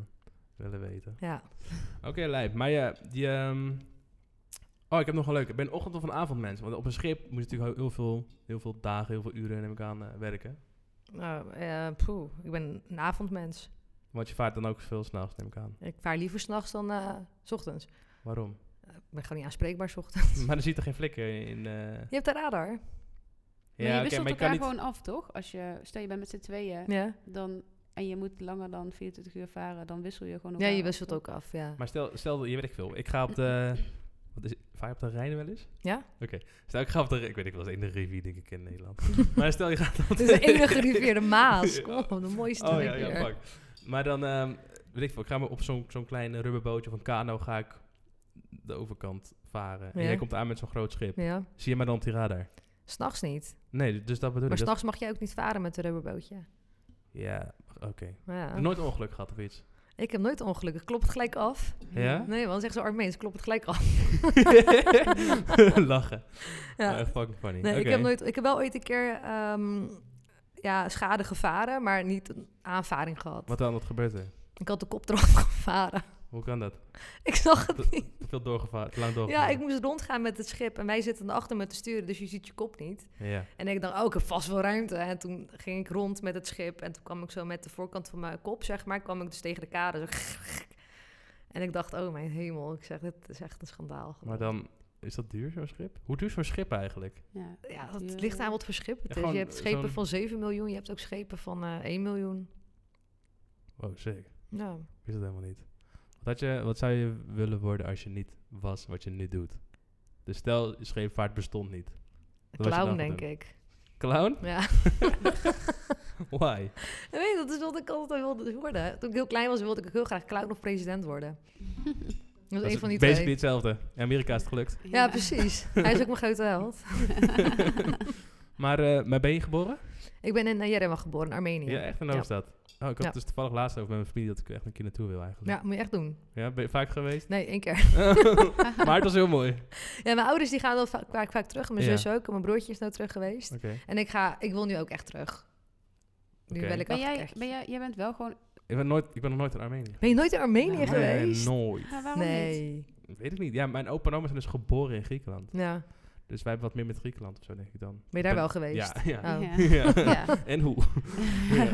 [SPEAKER 2] willen weten.
[SPEAKER 1] Ja.
[SPEAKER 2] Oké, lijp. Maar ja, die... ehm, Oh, ik heb nog een leuke. Ik ben een ochtend- of een avondmens. Want op een schip moet je natuurlijk heel veel, heel veel dagen, heel veel uren, neem ik aan, eh, werken.
[SPEAKER 1] Nou, eh, poeh, ik ben een avondmens.
[SPEAKER 2] Want je vaart dan ook veel s'nachts, neem ik aan.
[SPEAKER 1] Ik vaar liever s'nachts dan eh, s ochtends.
[SPEAKER 2] Waarom? [LAUGHS]
[SPEAKER 1] Eh, Ik ben gewoon niet aanspreekbaar s ochtends. [LAUGHS]
[SPEAKER 2] maar er ziet er geen flikken in. eh,
[SPEAKER 1] Je hebt een radar.
[SPEAKER 3] Maar je
[SPEAKER 2] oké,
[SPEAKER 3] wisselt
[SPEAKER 2] maar je
[SPEAKER 3] elkaar
[SPEAKER 2] kan niet.
[SPEAKER 3] gewoon af, toch? Als je, stel je bent met z'n tweeën
[SPEAKER 1] Ja,
[SPEAKER 3] dan, en je moet langer dan 24 uur varen, dan wissel je gewoon
[SPEAKER 1] ja
[SPEAKER 3] elkaar
[SPEAKER 1] je
[SPEAKER 3] af,
[SPEAKER 1] wisselt
[SPEAKER 3] toch?
[SPEAKER 1] ook af, ja.
[SPEAKER 2] Maar stel, stel, dat- je weet ik veel. Ik ga op de.
[SPEAKER 3] [LAUGHS]
[SPEAKER 2] Wat is het? Vaar je op de Rijn wel eens?
[SPEAKER 1] Ja.
[SPEAKER 2] Oké. Stel, ik ga op de. Ik weet ik wel eens in de rivier, denk ik, in Nederland. [LAUGHS] maar stel, je gaat
[SPEAKER 1] [LAUGHS]
[SPEAKER 2] op
[SPEAKER 1] Het is de enige rivier, de
[SPEAKER 2] [LAUGHS]
[SPEAKER 1] Maas. Kom op, de mooiste
[SPEAKER 2] Oh ja,
[SPEAKER 1] rivier.
[SPEAKER 2] ja, fuck. Maar dan, ehm, weet ik veel. Ik ga maar op zo'n zo'n klein eh, rubberbootje of een kano ga ik de overkant varen. En
[SPEAKER 1] Ja.
[SPEAKER 2] jij komt aan met zo'n groot schip.
[SPEAKER 1] Ja.
[SPEAKER 2] Zie je mij dan op die radar?
[SPEAKER 1] S'nachts niet.
[SPEAKER 2] Nee, dus dat bedoel
[SPEAKER 1] Maar
[SPEAKER 2] ik. dat-
[SPEAKER 1] s'nachts mag je ook niet varen met een rubberbootje.
[SPEAKER 2] Ja, oké. Heb je
[SPEAKER 1] Ja.
[SPEAKER 2] Nooit een ongeluk gehad of
[SPEAKER 1] [LAUGHS]
[SPEAKER 2] iets.
[SPEAKER 1] Ik heb nooit ongelukken. Klopt het gelijk af?
[SPEAKER 2] Ja?
[SPEAKER 1] Nee, want zegt zo Armeens, klopt het gelijk af. [LAUGHS]
[SPEAKER 2] Lachen.
[SPEAKER 1] Ja.
[SPEAKER 2] Oh, echt fucking funny.
[SPEAKER 1] Nee, ik,
[SPEAKER 2] Oké.
[SPEAKER 1] heb nooit, ik heb wel ooit een keer ehm, ja, schade gevaren, maar niet een aanvaring gehad.
[SPEAKER 2] Wat dan? Wat gebeurt er?
[SPEAKER 1] Ik had de kop eraf [LAUGHS] gevaren.
[SPEAKER 2] Hoe kan dat?
[SPEAKER 1] Ik zag het
[SPEAKER 2] Dat-
[SPEAKER 1] niet.
[SPEAKER 2] Te veel doorgevaren, te lang
[SPEAKER 1] Ja,
[SPEAKER 2] doorgevaren.
[SPEAKER 1] ik moest rondgaan met het schip en wij zitten achter met te sturen, dus je ziet je kop niet.
[SPEAKER 2] Ja.
[SPEAKER 1] En ik dacht, oh, ik heb vast wel ruimte. En toen ging ik rond met het schip en toen kwam ik zo met de voorkant van mijn kop, zeg maar, kwam ik dus tegen de kade. Zo. [LAUGHS] En ik dacht, oh mijn hemel, ik zeg, dit is echt een schandaal.
[SPEAKER 2] Maar dan, is dat duur zo'n schip? Hoe duur is zo'n schip eigenlijk?
[SPEAKER 3] Ja.
[SPEAKER 1] Ja, dat ligt aan wat voor schip het
[SPEAKER 2] Ja,
[SPEAKER 1] is. Je
[SPEAKER 2] gewoon
[SPEAKER 1] hebt schepen
[SPEAKER 2] zo'n-
[SPEAKER 1] van 7 miljoen, je hebt ook schepen van eh 1 miljoen.
[SPEAKER 2] Oh, zeker.
[SPEAKER 1] Ja.
[SPEAKER 2] Ik wist dat helemaal niet. Wat, had je, wat zou je willen worden als je niet was wat je nu doet? Dus stel, scheepvaart bestond niet.
[SPEAKER 1] Een
[SPEAKER 2] Wat was je
[SPEAKER 1] clown,
[SPEAKER 2] dan
[SPEAKER 1] denk
[SPEAKER 2] gaan
[SPEAKER 1] ik. [LAUGHS]
[SPEAKER 2] [LAUGHS] Clown?
[SPEAKER 1] Ja.
[SPEAKER 2] Why?
[SPEAKER 1] Ik weet dat is wat ik altijd wilde worden. Toen ik heel klein was, wilde ik ook heel graag clown of president
[SPEAKER 2] [LAUGHS]
[SPEAKER 1] worden. Dat
[SPEAKER 2] Dat
[SPEAKER 1] is
[SPEAKER 2] is
[SPEAKER 1] een van die
[SPEAKER 2] basically
[SPEAKER 1] twee.
[SPEAKER 2] hetzelfde. In Amerika is het
[SPEAKER 1] [LAUGHS]
[SPEAKER 2] gelukt.
[SPEAKER 1] Ja,
[SPEAKER 2] [LAUGHS]
[SPEAKER 1] precies. Hij is ook mijn grote held.
[SPEAKER 2] Maar, eh, maar ben je geboren?
[SPEAKER 1] Ik ben in Jerevan geboren, in Armenië.
[SPEAKER 2] Ja, echt in
[SPEAKER 1] Ja.
[SPEAKER 2] Hoofdstad. Oh, ik had
[SPEAKER 1] Ja.
[SPEAKER 2] dus toevallig laatst over met mijn familie dat ik echt een keer naartoe wil eigenlijk.
[SPEAKER 1] Ja, moet je echt doen.
[SPEAKER 2] Ja, ben je vaak
[SPEAKER 1] [LAUGHS]
[SPEAKER 2] geweest? [LAUGHS]
[SPEAKER 1] Nee, één keer.
[SPEAKER 2] maar het was heel mooi. Oké.
[SPEAKER 1] Ja, mijn ouders die gaan wel va- vaak, vaak terug. Mijn
[SPEAKER 2] Ja.
[SPEAKER 1] zus ook. en Mijn broertje is nou terug geweest. En ik, ga, ik wil nu ook echt terug. Nu
[SPEAKER 2] Oké.
[SPEAKER 1] wil ik
[SPEAKER 3] Ben
[SPEAKER 1] af-
[SPEAKER 3] jij,
[SPEAKER 1] echt-
[SPEAKER 3] ben jij, jij bent wel gewoon...
[SPEAKER 2] Ik ben, nooit, ik ben nog nooit in Armenië.
[SPEAKER 1] Ben je nooit in Armenië
[SPEAKER 3] Nee,
[SPEAKER 1] geweest?
[SPEAKER 2] nooit.
[SPEAKER 3] Ja, waarom niet?
[SPEAKER 1] [LAUGHS] nee.
[SPEAKER 2] Weet ik niet. Ja, mijn opa en oma zijn dus geboren in Griekenland.
[SPEAKER 1] Ja,
[SPEAKER 2] Dus wij hebben wat meer met Griekenland of zo, denk ik dan.
[SPEAKER 1] ben je daar
[SPEAKER 2] Ben-
[SPEAKER 1] wel geweest?
[SPEAKER 2] Ja, ja.
[SPEAKER 1] Oh.
[SPEAKER 3] Ja.
[SPEAKER 1] [LAUGHS]
[SPEAKER 2] [LAUGHS] Ja.
[SPEAKER 3] Ja.
[SPEAKER 2] En [LAUGHS] hoe? ja.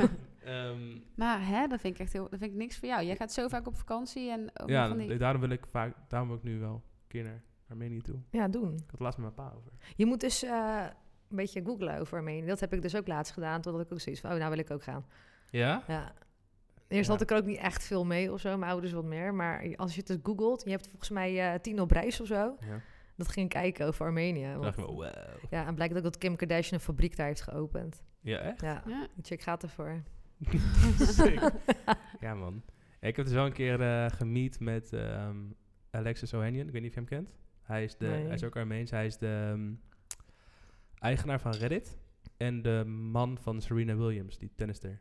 [SPEAKER 2] Ehm,
[SPEAKER 3] Maar hè, dat vind ik echt heel, dat vind ik niks voor jou. Jij gaat zo vaak op vakantie en ook
[SPEAKER 2] ja,
[SPEAKER 3] nog van die-
[SPEAKER 2] d- daarom wil ik vaak, daarom wil ik nu wel een keer naar Armenië toe.
[SPEAKER 1] Ja, doen.
[SPEAKER 2] Ik had het laatst met mijn pa over.
[SPEAKER 1] Je moet dus eh, een beetje googlen over Armenië. Dat heb ik dus ook laatst gedaan, totdat ik ook zoiets van, oh, nou wil ik ook gaan.
[SPEAKER 2] Ja?
[SPEAKER 1] Ja. Eerst
[SPEAKER 2] Ja.
[SPEAKER 1] had ik er ook niet echt veel mee of zo, mijn ouders wat meer. Maar als je het dus googelt, je hebt volgens mij eh, tien op reis of zo.
[SPEAKER 2] Ja.
[SPEAKER 1] Dat ging kijken over Armenië.
[SPEAKER 2] Toen
[SPEAKER 1] want-
[SPEAKER 2] dacht ik, wel, wow.
[SPEAKER 1] ja, en blijkt ook dat Kim Kardashian een fabriek daar heeft geopend.
[SPEAKER 2] Ja,
[SPEAKER 1] [LAUGHS]
[SPEAKER 2] echt?
[SPEAKER 1] Ja,
[SPEAKER 3] Ja.
[SPEAKER 1] die chick gaat ervoor.
[SPEAKER 2] Sick. [LAUGHS] ja, man. Ja, Ik heb dus wel een keer eh gemiet met ehm, Alexis Ohanian. Ik weet niet of je hem kent. Hij is, de,
[SPEAKER 1] Nee.
[SPEAKER 2] hij is ook Armeens. Hij is de ehm, eigenaar van Reddit. En de man van Serena Williams, die tennister.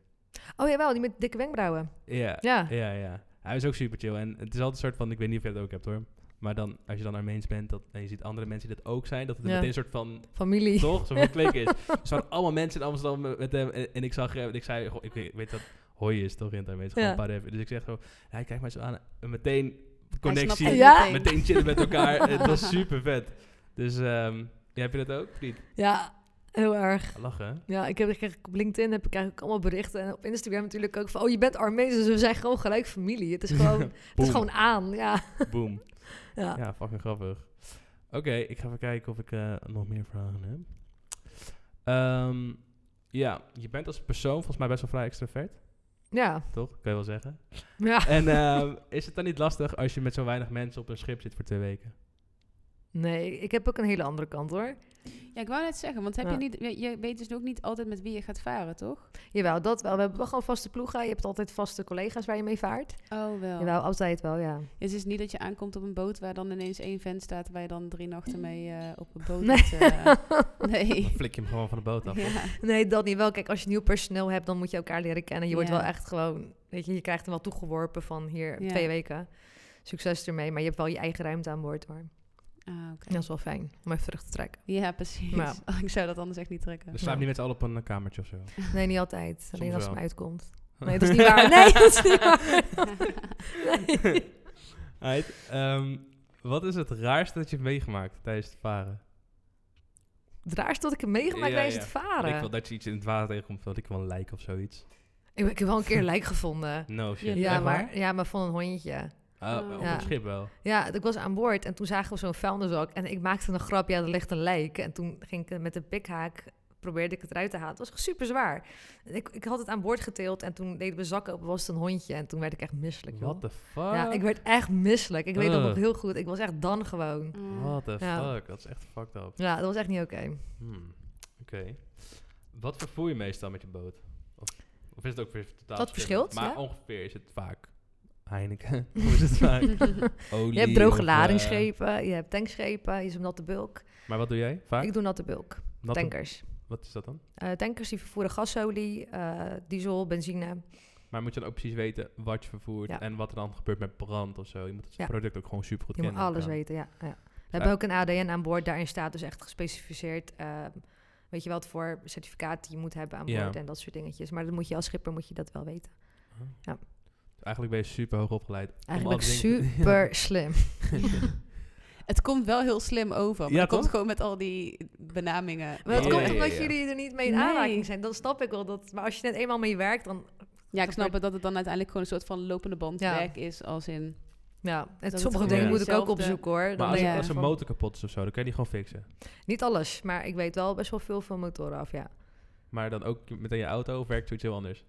[SPEAKER 1] Oh jawel, die met dikke wenkbrauwen.
[SPEAKER 2] Ja,
[SPEAKER 1] Ja.
[SPEAKER 2] ja, ja. Hij is ook super chill. En het is altijd een soort van, ik weet niet of je dat ook hebt hoor. Maar dan, als je dan Armeens bent dat, en je ziet andere mensen die dat ook zijn, dat het
[SPEAKER 1] Ja.
[SPEAKER 2] meteen een soort
[SPEAKER 1] [LAUGHS]
[SPEAKER 2] van,
[SPEAKER 1] Familie.
[SPEAKER 2] toch? Zo'n klik is. Er staan allemaal mensen in Amsterdam met hem. En, en ik zag hem en ik zei, goh, ik weet, weet dat hooi is toch in het Armeens.
[SPEAKER 1] Ja.
[SPEAKER 2] Gewoon Parev. Dus ik zeg zo, hij kijkt mij zo aan en meteen connectie.
[SPEAKER 1] het
[SPEAKER 3] ja.
[SPEAKER 1] meteen.
[SPEAKER 2] Meteen chillen met
[SPEAKER 1] [LAUGHS]
[SPEAKER 2] elkaar. het was super vet. Dus ehm, ja, heb je dat ook? Niet?
[SPEAKER 1] Ja, heel erg.
[SPEAKER 2] Lachen. hè?
[SPEAKER 1] Ja, ik heb ik krijg, op LinkedIn heb ik eigenlijk allemaal berichten. En op Instagram natuurlijk ook van, oh, je bent Armees, dus we zijn gewoon gelijk familie.
[SPEAKER 2] [LAUGHS]
[SPEAKER 1] Het is gewoon, het
[SPEAKER 2] Boom.
[SPEAKER 1] is gewoon aan, ja.
[SPEAKER 2] Boom.
[SPEAKER 1] Ja.
[SPEAKER 2] Ja, fucking grappig. Oké, ik ga even kijken of ik eh, nog meer vragen heb. Ehm, ja, je bent als persoon volgens mij best wel vrij extravert,
[SPEAKER 1] Ja,
[SPEAKER 2] toch? Kan je wel zeggen.
[SPEAKER 1] ja. [LAUGHS]
[SPEAKER 2] En ehm, is het dan niet lastig als je met zo weinig mensen op een schip zit voor twee weken?
[SPEAKER 1] Nee, ik heb ook een hele andere kant hoor.
[SPEAKER 3] Ja, ik wou net zeggen, want heb
[SPEAKER 1] Ja.
[SPEAKER 3] je, niet, je- je weet dus ook niet altijd met wie je gaat varen, toch?
[SPEAKER 1] Jawel, dat wel. We hebben wel gewoon vaste ploegen. Je hebt altijd vaste collega's waar je mee vaart.
[SPEAKER 3] Oh, wel.
[SPEAKER 1] Jawel, altijd wel, ja.
[SPEAKER 3] Dus Het is niet dat je aankomt op een boot waar dan ineens één vent staat... waar je dan drie nachten mee eh, op een boot
[SPEAKER 1] Nee.
[SPEAKER 3] moet, eh,
[SPEAKER 1] [LAUGHS]
[SPEAKER 2] Dan
[SPEAKER 3] nee.
[SPEAKER 2] flik je hem gewoon van de boot af.
[SPEAKER 3] Ja.
[SPEAKER 1] Nee, dat niet wel. Kijk, als je nieuw personeel hebt, dan moet je elkaar leren kennen. Je wordt
[SPEAKER 3] Ja.
[SPEAKER 1] wel echt gewoon, weet je, je krijgt hem wel toegeworpen van hier
[SPEAKER 3] Ja.
[SPEAKER 1] twee weken. Succes ermee, maar je hebt wel je eigen ruimte aan boord hoor.
[SPEAKER 3] Ah, oké.
[SPEAKER 1] Dat is wel fijn om even terug te trekken.
[SPEAKER 3] Ja, precies.
[SPEAKER 1] Maar
[SPEAKER 3] [LAUGHS] ik zou dat anders echt niet trekken.
[SPEAKER 2] Dan slaap je niet met z'n allen op een eh, kamertje of zo.
[SPEAKER 1] [LAUGHS] Nee, niet altijd. Alleen als het
[SPEAKER 2] wel.
[SPEAKER 1] me
[SPEAKER 2] [LAUGHS]
[SPEAKER 1] uitkomt. Nee, dat is niet waar. Nee, dat is niet waar. Nee.
[SPEAKER 2] Alright, ehm, wat is het raarste dat je hebt meegemaakt tijdens het varen?
[SPEAKER 1] Het raarste dat ik heb meegemaakt
[SPEAKER 2] Ja,
[SPEAKER 1] tijdens
[SPEAKER 2] ja.
[SPEAKER 1] het
[SPEAKER 2] Ik wil
[SPEAKER 1] varen.
[SPEAKER 2] dat je iets in het water tegenkomt, dat ik wel een lijk of zoiets.
[SPEAKER 1] Ik, ik heb wel een keer een lijk gevonden.
[SPEAKER 2] No shit.
[SPEAKER 1] Ja,
[SPEAKER 2] Echt waar?
[SPEAKER 1] maar, ja, maar van een hondje.
[SPEAKER 2] Oh, op
[SPEAKER 1] Ja.
[SPEAKER 2] het schip wel.
[SPEAKER 1] Ja, ik was aan boord en toen zagen we zo'n vuilniszak. En ik maakte een grap, ja, er ligt een lijk. En toen ging ik met de pikhaak, probeerde ik het eruit te halen. Het was super zwaar. Ik, ik had het aan boord geteeld en toen deden we zakken op, was het een hondje. En toen werd ik echt misselijk, joh.
[SPEAKER 2] What the fuck?
[SPEAKER 1] Ja, ik werd echt misselijk. Ik weet dat
[SPEAKER 2] Ugh.
[SPEAKER 1] nog heel goed. Ik was echt dan gewoon.
[SPEAKER 3] Mm.
[SPEAKER 2] What the
[SPEAKER 1] Ja.
[SPEAKER 2] fuck? Dat is echt fucked up.
[SPEAKER 1] Ja, dat was echt niet oké.
[SPEAKER 2] Hmm, Oké. Wat vervoer je meestal met je boot? Of, of is het ook weer totaal
[SPEAKER 1] Dat verschilt,
[SPEAKER 2] Maar
[SPEAKER 1] ja.
[SPEAKER 2] ongeveer is het vaak Heineken. [LAUGHS] Hoe is
[SPEAKER 1] [LAUGHS]
[SPEAKER 2] het vaak? Olie,
[SPEAKER 1] Je hebt droge
[SPEAKER 2] of, eh,
[SPEAKER 1] ladingsschepen, je hebt tankschepen, je hebt natte bulk.
[SPEAKER 2] maar wat doe jij vaak?
[SPEAKER 1] Ik doe natte bulk,
[SPEAKER 2] Natte-
[SPEAKER 1] tankers.
[SPEAKER 2] Wat is dat dan?
[SPEAKER 1] Eh, tankers die vervoeren gasolie, eh, diesel, benzine.
[SPEAKER 2] Maar moet je dan ook precies weten wat je vervoert
[SPEAKER 1] Ja.
[SPEAKER 2] en wat er dan gebeurt met brand of zo? Je moet het
[SPEAKER 1] Ja.
[SPEAKER 2] product ook gewoon super goed
[SPEAKER 1] Je moet
[SPEAKER 2] kennen.
[SPEAKER 1] alles
[SPEAKER 2] Ja.
[SPEAKER 1] weten, ja. ja. We hebben ook een ADN aan boord. Daarin staat dus echt gespecificeerd, ehm, weet je wat voor certificaat je moet hebben aan
[SPEAKER 2] Ja.
[SPEAKER 1] boord en dat soort dingetjes. Maar dat moet je als schipper moet je dat wel weten. Ja.
[SPEAKER 2] Dus eigenlijk ben je super hoog opgeleid. om
[SPEAKER 1] Eigenlijk
[SPEAKER 2] alle dingen- [LAUGHS]
[SPEAKER 1] super slim.
[SPEAKER 3] Het komt wel heel slim over, maar
[SPEAKER 2] Ja,
[SPEAKER 3] het komt
[SPEAKER 2] toch?
[SPEAKER 3] gewoon met al die benamingen.
[SPEAKER 1] Maar dat
[SPEAKER 2] Ja,
[SPEAKER 1] komt
[SPEAKER 2] ja,
[SPEAKER 1] omdat
[SPEAKER 2] ja.
[SPEAKER 1] jullie er niet mee in
[SPEAKER 3] Nee.
[SPEAKER 1] aanraking zijn. Dan snap ik wel dat. Maar als je net eenmaal mee werkt, dan
[SPEAKER 3] Ja, ik snap het dat het dan uiteindelijk gewoon een soort van lopende band
[SPEAKER 1] Ja.
[SPEAKER 3] werk is, als in...
[SPEAKER 1] ja. En
[SPEAKER 3] het
[SPEAKER 1] sommige
[SPEAKER 2] gewoon
[SPEAKER 1] dingen moet ik ook
[SPEAKER 3] hetzelfde-
[SPEAKER 1] opzoeken hoor. Dan
[SPEAKER 2] Maar als,
[SPEAKER 1] denk
[SPEAKER 3] Ja.
[SPEAKER 1] ik
[SPEAKER 2] als een
[SPEAKER 1] van-
[SPEAKER 2] motor kapot is of zo, dan kan je die gewoon fixen.
[SPEAKER 1] Niet alles, maar ik weet wel best wel veel van motoren af. Ja.
[SPEAKER 2] Maar dan ook meteen je auto of werkt zoiets heel anders?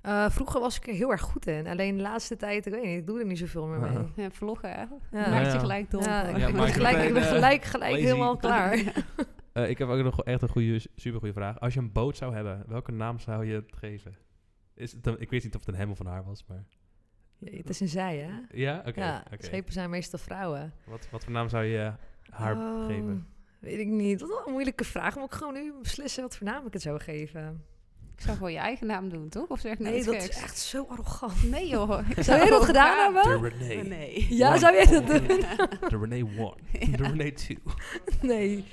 [SPEAKER 1] Eh, vroeger was ik er heel erg goed in. Alleen de laatste tijd, ik weet niet, ik doe er niet zoveel
[SPEAKER 2] [LAUGHS]
[SPEAKER 1] meer mee.
[SPEAKER 2] Ja.
[SPEAKER 3] Ja, vloggen, hè?
[SPEAKER 1] Ja.
[SPEAKER 3] Maakt je
[SPEAKER 2] Ja.
[SPEAKER 3] gelijk dol.
[SPEAKER 1] Ja,
[SPEAKER 3] voor.
[SPEAKER 1] ik, ben
[SPEAKER 2] maar ik-
[SPEAKER 1] gelijk, ik ben
[SPEAKER 2] meteen, eh,
[SPEAKER 1] gelijk, gelijk
[SPEAKER 2] lazy.
[SPEAKER 1] helemaal klaar.
[SPEAKER 2] Eh, ik heb ook nog echt een goede, supergoede vraag. Als je een boot zou hebben, welke naam zou je het geven? Is het een- ik weet niet of het een hem of een haar was, maar...
[SPEAKER 1] Ja, het is een zij, hè?
[SPEAKER 2] Ja? Oké.
[SPEAKER 1] ja,
[SPEAKER 2] oké.
[SPEAKER 1] schepen zijn meestal vrouwen.
[SPEAKER 2] Wat, wat voor naam zou je eh, haar
[SPEAKER 1] Oh,
[SPEAKER 2] geven?
[SPEAKER 1] Weet ik niet. Dat is wel een moeilijke vraag. Moet ik gewoon nu beslissen wat voor naam ik het zou geven?
[SPEAKER 3] Ik zou gewoon je eigen naam doen, toch? Of zeg ik nou
[SPEAKER 1] Nee,
[SPEAKER 3] iets
[SPEAKER 1] Nou, dat is
[SPEAKER 3] geks?
[SPEAKER 1] echt zo arrogant. [LAUGHS]
[SPEAKER 3] Nee, [LAUGHS] joh. Ik
[SPEAKER 1] Zou jij dat
[SPEAKER 3] gewoon
[SPEAKER 1] gedaan
[SPEAKER 3] gaan.
[SPEAKER 1] hebben?
[SPEAKER 2] Renee.
[SPEAKER 3] Nee.
[SPEAKER 1] Ja,
[SPEAKER 2] One.
[SPEAKER 1] zou jij dat doen?
[SPEAKER 2] [LAUGHS] De Renee 1. De Renee 2. [LAUGHS]
[SPEAKER 1] Nee.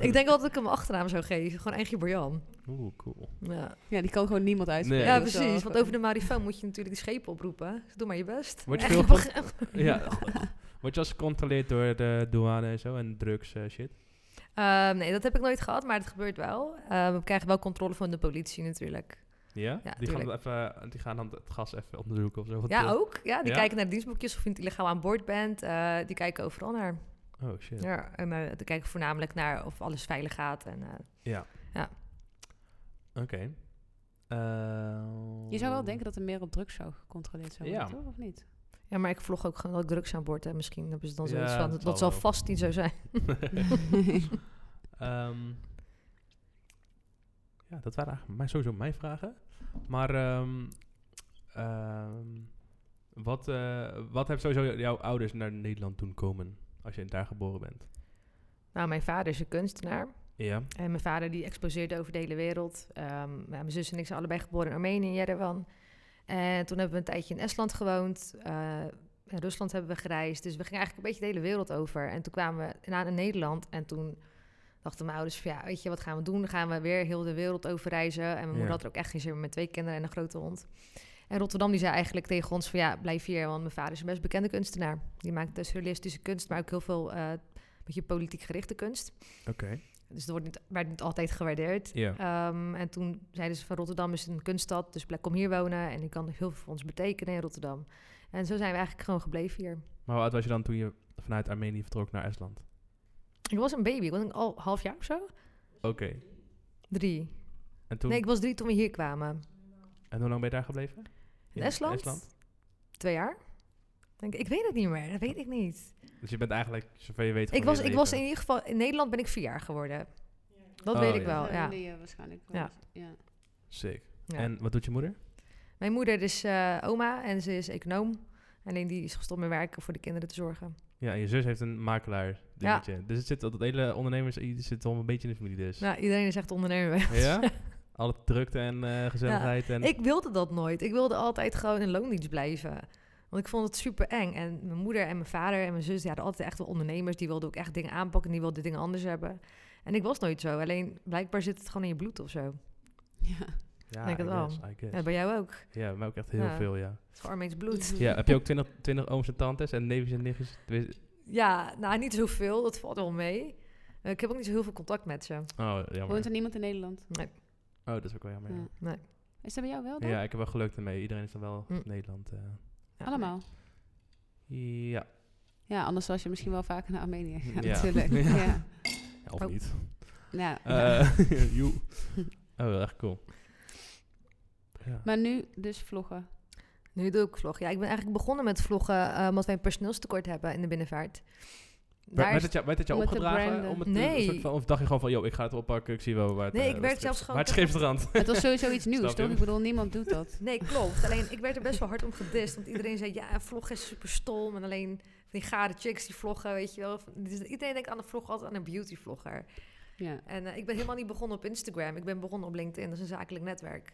[SPEAKER 1] ik denk wel dat ik hem een achternaam zou geven. Gewoon Angie Brian.
[SPEAKER 2] Oeh, cool.
[SPEAKER 1] Ja,
[SPEAKER 3] Ja, die kan gewoon niemand uitspreken.
[SPEAKER 2] Nee.
[SPEAKER 1] ja
[SPEAKER 3] Dat is wel
[SPEAKER 1] precies. Want
[SPEAKER 3] gewoon-
[SPEAKER 1] over de marifoon moet je natuurlijk die schepen oproepen. Dus doe maar je best.
[SPEAKER 2] Word je
[SPEAKER 1] Echt,
[SPEAKER 2] veel van-
[SPEAKER 1] echt-
[SPEAKER 2] ja.
[SPEAKER 1] Oh.
[SPEAKER 2] Word je als gecontroleerd door de douane en zo en drugs eh, shit?
[SPEAKER 1] [LAUGHS] Ehm, nee, dat heb ik nooit gehad, maar het gebeurt wel. Ehm, we krijgen wel controle van de politie natuurlijk.
[SPEAKER 2] Ja?
[SPEAKER 1] Ja,
[SPEAKER 2] die, gaan
[SPEAKER 1] tuurlijk.
[SPEAKER 2] even, die gaan dan het gas even onderzoeken of zo. wat
[SPEAKER 1] Ja,
[SPEAKER 2] wil-
[SPEAKER 1] ook. Ja, die
[SPEAKER 2] Ja?
[SPEAKER 1] kijken naar de dienstboekjes of je niet illegaal aan boord bent. Eh, die kijken overal naar.
[SPEAKER 2] Oh, shit.
[SPEAKER 1] Ja. en, eh, die kijken voornamelijk naar of alles veilig gaat. En, eh,
[SPEAKER 2] Ja.
[SPEAKER 1] Ja.
[SPEAKER 2] Oké. Eh,
[SPEAKER 3] Je zou wel denken dat er meer op drugs zou gecontroleerd zou worden,
[SPEAKER 2] Ja.
[SPEAKER 3] toch? Of niet?
[SPEAKER 1] ja, maar ik vlog ook gewoon dat ik drugs aan boord heb. Misschien hebben ze dan
[SPEAKER 2] Ja,
[SPEAKER 1] zoiets van, dat,
[SPEAKER 2] dat zal
[SPEAKER 1] zal
[SPEAKER 2] wel.
[SPEAKER 1] vast niet zo zijn.
[SPEAKER 2] [LAUGHS] Ehm, ja, dat waren eigenlijk mijn- sowieso mijn vragen. Maar ehm, ehm, wat, eh, wat hebben sowieso jouw ouders naar Nederland doen komen als je daar geboren bent?
[SPEAKER 1] Nou, mijn vader is een kunstenaar.
[SPEAKER 2] Ja.
[SPEAKER 1] En Eh, mijn vader die exposeerde over de hele wereld. Ehm, nou, mijn zus en ik zijn allebei geboren in Armenië, in Yerevan. En toen hebben we een tijdje in Estland gewoond. Eh, in Rusland hebben we gereisd. Dus we gingen eigenlijk een beetje de hele wereld over. En toen kwamen we aan in Nederland. En toen dachten mijn ouders van ja, weet je, wat gaan we doen? Dan gaan we weer heel de wereld overreizen. En mijn moeder
[SPEAKER 2] Ja.
[SPEAKER 1] had er ook echt geen zin meer met twee kinderen en een grote hond. En Rotterdam die zei eigenlijk tegen ons van ja, blijf hier, want mijn vader is een best bekende kunstenaar. Die maakt dus realistische kunst, maar ook heel veel eh beetje politiek gerichte kunst.
[SPEAKER 2] Oké.
[SPEAKER 1] Dus dat wordt niet, werd niet altijd gewaardeerd.
[SPEAKER 2] Ja.
[SPEAKER 1] Ehm, en toen zeiden ze van Rotterdam is een kunststad, dus plek kom hier wonen. En ik kan heel veel voor ons betekenen in Rotterdam. En zo zijn we eigenlijk gewoon gebleven hier.
[SPEAKER 2] Maar hoe oud was je dan toen je vanuit Armenië vertrok naar Estland?
[SPEAKER 1] Ik was een baby, ik was een al half jaar of zo.
[SPEAKER 2] Oké.
[SPEAKER 1] Drie.
[SPEAKER 2] En toen,
[SPEAKER 1] Nee, ik was drie toen we hier kwamen.
[SPEAKER 2] en hoe lang ben je daar gebleven?
[SPEAKER 1] In Estland? Twee jaar? Denk ik, ik weet het niet meer, dat weet ik niet.
[SPEAKER 2] Dus je bent eigenlijk, zover je weet,
[SPEAKER 1] Ik
[SPEAKER 2] gewoon
[SPEAKER 1] was,
[SPEAKER 2] je
[SPEAKER 1] ik was in
[SPEAKER 2] leven-
[SPEAKER 1] ieder geval, in Nederland ben ik vier jaar geworden. Dat
[SPEAKER 2] Oh,
[SPEAKER 1] weet ik
[SPEAKER 2] ja.
[SPEAKER 1] wel,
[SPEAKER 3] Dan
[SPEAKER 1] ja.
[SPEAKER 3] ben je eh, waarschijnlijk wel
[SPEAKER 1] Ja.
[SPEAKER 3] eens- ja.
[SPEAKER 2] Sick.
[SPEAKER 1] Ja.
[SPEAKER 2] En wat doet je moeder?
[SPEAKER 1] Mijn moeder is eh, oma en ze is econoom. Alleen die is gestopt met werken voor de kinderen te zorgen.
[SPEAKER 2] Ja, en je zus heeft een makelaar dingetje. Dus het zit, dat hele ondernemers iets zit al een beetje in de familie dus.
[SPEAKER 1] Nou, iedereen is echt ondernemer bij ons.
[SPEAKER 2] Ja? Alle drukte en eh, gezelligheid. En,
[SPEAKER 1] Ik wilde dat nooit. Ik wilde altijd gewoon in loondienst blijven. Want ik vond het super eng. En mijn moeder en mijn vader en mijn zus, die hadden altijd echt wel ondernemers. Die wilden ook echt dingen aanpakken en die wilden dingen anders hebben. En ik was nooit zo. Alleen blijkbaar zit het gewoon in je bloed of zo.
[SPEAKER 3] Ja.
[SPEAKER 2] ja,
[SPEAKER 1] denk
[SPEAKER 2] I
[SPEAKER 1] het wel.
[SPEAKER 2] guess, I guess.
[SPEAKER 1] Ja, bij jou ook. Het
[SPEAKER 2] Ja, maar ook echt heel
[SPEAKER 1] Ja.
[SPEAKER 2] veel, ja.
[SPEAKER 1] is gewoon Armeens bloed.
[SPEAKER 2] Ja, heb je ook 20, 20 ooms en tantes en neefjes en nichtjes? Wist-
[SPEAKER 1] Ja, nou niet zoveel. Dat valt wel mee. Eh, Ik heb ook niet zo heel veel contact met ze.
[SPEAKER 2] Oh,
[SPEAKER 3] Woont
[SPEAKER 2] jammer.
[SPEAKER 3] er niemand in Nederland?
[SPEAKER 1] Nee.
[SPEAKER 2] Oh, dat is ook wel jammer. ja.
[SPEAKER 3] Ja.
[SPEAKER 1] Nee.
[SPEAKER 3] Is dat bij jou wel
[SPEAKER 2] Ja,
[SPEAKER 3] dan?
[SPEAKER 2] ik heb wel geluk ermee. Iedereen is dan wel
[SPEAKER 1] Hm.
[SPEAKER 2] in Nederland. eh.
[SPEAKER 1] Ja,
[SPEAKER 3] Allemaal?
[SPEAKER 2] ja,
[SPEAKER 3] Ja, anders was je misschien wel vaker naar Armenië gegaan
[SPEAKER 2] Ja.
[SPEAKER 3] natuurlijk.
[SPEAKER 2] [LAUGHS] Ja.
[SPEAKER 3] Ja.
[SPEAKER 2] Ja, of
[SPEAKER 1] Oh.
[SPEAKER 2] niet.
[SPEAKER 3] Ja.
[SPEAKER 2] Eh, [LAUGHS] joe. oh, wel echt cool. Ja.
[SPEAKER 3] Maar nu dus vloggen.
[SPEAKER 1] Nu doe ik vlog. Ja, ik ben eigenlijk begonnen met vloggen eh, omdat wij een personeelstekort hebben in de binnenvaart.
[SPEAKER 2] Werd,
[SPEAKER 1] Daar
[SPEAKER 2] werd
[SPEAKER 1] is-
[SPEAKER 2] het jou, werd het jou
[SPEAKER 3] om het te
[SPEAKER 2] opgedragen?
[SPEAKER 3] branden.
[SPEAKER 2] Om het te-
[SPEAKER 1] Nee.
[SPEAKER 2] een soort van, of dacht je gewoon van, joh, ik ga het oppakken, ik zie wel waar het
[SPEAKER 1] Nee,
[SPEAKER 2] eh,
[SPEAKER 1] ik
[SPEAKER 2] waar
[SPEAKER 1] werd
[SPEAKER 2] het
[SPEAKER 1] zelfs
[SPEAKER 2] schip-
[SPEAKER 1] gewoon
[SPEAKER 2] Waar het schip strandt.
[SPEAKER 3] Het was sowieso iets nieuws,
[SPEAKER 2] Snap je?
[SPEAKER 3] toch? Ik bedoel, niemand doet dat.
[SPEAKER 1] Nee, klopt. Alleen ik werd er best wel hard om gedist. Want iedereen zei, ja, vloggen is super stom. En alleen van die gare chicks die vloggen, weet je wel. Dus iedereen denkt aan een vlog altijd aan een beauty vlogger.
[SPEAKER 3] Ja.
[SPEAKER 1] En eh, ik ben helemaal niet begonnen op Instagram. Ik ben begonnen op LinkedIn. Dat is een zakelijk netwerk.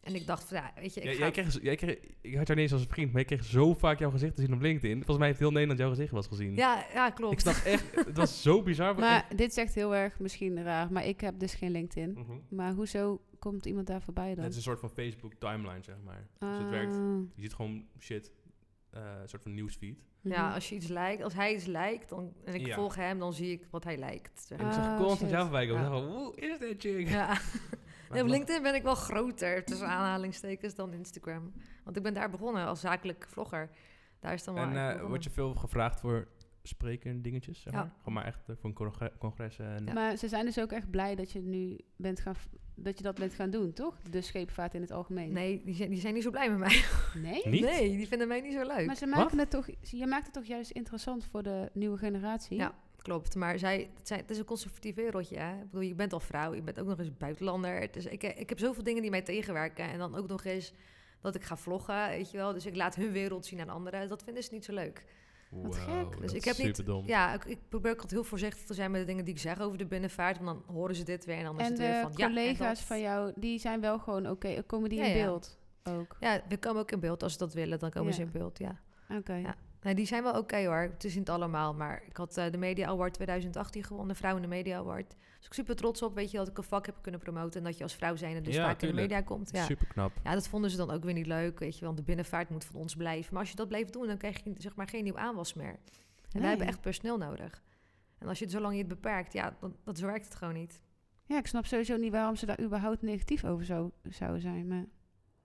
[SPEAKER 1] En ik dacht van, ja, weet je, [LAUGHS] ik
[SPEAKER 2] Ja,
[SPEAKER 1] ga...
[SPEAKER 2] jij kreeg, jij kreeg, ik had jou niet eens als een vriend, maar ik kreeg zo vaak jouw gezicht te zien op LinkedIn. Volgens mij heeft heel Nederland jouw gezicht wel eens gezien.
[SPEAKER 1] ja, ja,
[SPEAKER 2] Ik
[SPEAKER 1] klopt.
[SPEAKER 2] snap
[SPEAKER 1] [LAUGHS]
[SPEAKER 2] echt, het was zo bizar.
[SPEAKER 3] Maar dit zegt heel erg misschien raar, maar ik heb dus geen LinkedIn.
[SPEAKER 2] Mhm.
[SPEAKER 3] Maar hoezo komt iemand daar voorbij dan? Ah, mhm.
[SPEAKER 2] Het is een soort van Facebook timeline, zeg maar. Dus het
[SPEAKER 1] Ah.
[SPEAKER 2] werkt, je ziet gewoon shit, eh, een soort van newsfeed.
[SPEAKER 3] Mhm.
[SPEAKER 1] Ja, als je iets lijkt, als hij iets lijkt, dan, en ik
[SPEAKER 2] Ja.
[SPEAKER 1] volg hem, dan zie ik wat hij lijkt. zeg
[SPEAKER 2] En ik
[SPEAKER 1] maar.
[SPEAKER 2] zag
[SPEAKER 3] Oh,
[SPEAKER 2] constant
[SPEAKER 3] shit.
[SPEAKER 2] jou voorbij komen. Ik
[SPEAKER 1] Ah, Ja.
[SPEAKER 2] dacht van, hoe is dit chick?
[SPEAKER 1] Ja.
[SPEAKER 2] [LAUGHS] Maar
[SPEAKER 1] Nee, op
[SPEAKER 2] het
[SPEAKER 1] LinkedIn ben ik wel groter,
[SPEAKER 2] [LAUGHS]
[SPEAKER 1] tussen aanhalingstekens, dan Instagram. Want ik ben daar begonnen als zakelijk vlogger. Daar is dan wel
[SPEAKER 2] En
[SPEAKER 1] eigenlijk
[SPEAKER 2] eh,
[SPEAKER 1] begonnen.
[SPEAKER 2] word je veel gevraagd voor spreken en dingetjes? Zeg
[SPEAKER 1] Ja.
[SPEAKER 2] maar? Gewoon maar echt eh, voor een congre- congres. eh, En ja.
[SPEAKER 3] Maar ze zijn dus ook echt blij dat je nu bent gaan, v- dat je dat bent gaan doen, toch? De scheepvaart in het algemeen.
[SPEAKER 1] Nee, die zijn, die zijn niet zo blij met mij.
[SPEAKER 3] Nee?
[SPEAKER 2] Niet?
[SPEAKER 1] Nee, die vinden mij niet zo leuk.
[SPEAKER 3] Maar ze maken het toch, je maakt het toch juist interessant voor de nieuwe generatie?
[SPEAKER 1] Ja. Klopt, maar zij, het, zijn, het is een conservatief wereldje. Hè? Ik bedoel, je bent al vrouw, je bent ook nog eens buitenlander. Dus ik, ik heb zoveel dingen die mij tegenwerken. En dan ook nog eens dat ik ga vloggen, weet je wel. Dus ik laat hun wereld zien aan anderen. Dat vinden ze niet zo leuk.
[SPEAKER 3] Wat gek. Dus
[SPEAKER 1] ik heb niet-
[SPEAKER 2] superdom.
[SPEAKER 1] Ja, ik, ik probeer ook altijd heel voorzichtig te zijn met de dingen die ik zeg over de binnenvaart. Want dan horen ze dit weer en dan is
[SPEAKER 3] En
[SPEAKER 1] het weer
[SPEAKER 3] de
[SPEAKER 1] van... ja, en
[SPEAKER 3] collega's
[SPEAKER 1] dat.
[SPEAKER 3] van jou, die zijn wel gewoon oké, er komen die
[SPEAKER 1] Ja,
[SPEAKER 3] in
[SPEAKER 1] ja.
[SPEAKER 3] beeld ook.
[SPEAKER 1] Ja, we komen ook in beeld. Als ze dat willen, dan komen
[SPEAKER 3] Ja.
[SPEAKER 1] ze in beeld, ja.
[SPEAKER 3] Oké.
[SPEAKER 1] Ja. Nee, Nou, die zijn wel oké hoor. Het is niet allemaal, maar ik had eh, de Media Award 2018 gewonnen, Vrouw in de Media Award. Dus ik super trots op, weet je, dat ik een vak heb kunnen promoten en dat je als vrouw zijnde dus
[SPEAKER 2] Ja,
[SPEAKER 1] vaak in de
[SPEAKER 2] tuurlijk.
[SPEAKER 1] media komt. Ja.
[SPEAKER 2] Super knap.
[SPEAKER 1] ja, dat vonden ze dan ook weer niet leuk, weet je, want de binnenvaart moet van ons blijven. Maar als je dat blijft doen, dan krijg je zeg maar geen nieuw aanwas meer. En wij
[SPEAKER 3] Nee.
[SPEAKER 1] hebben echt personeel nodig. En als je het zolang je het beperkt, ja, dan, dat zo werkt het gewoon niet.
[SPEAKER 3] Ja, ik snap sowieso niet waarom ze daar überhaupt negatief over zou, zouden zijn. Maar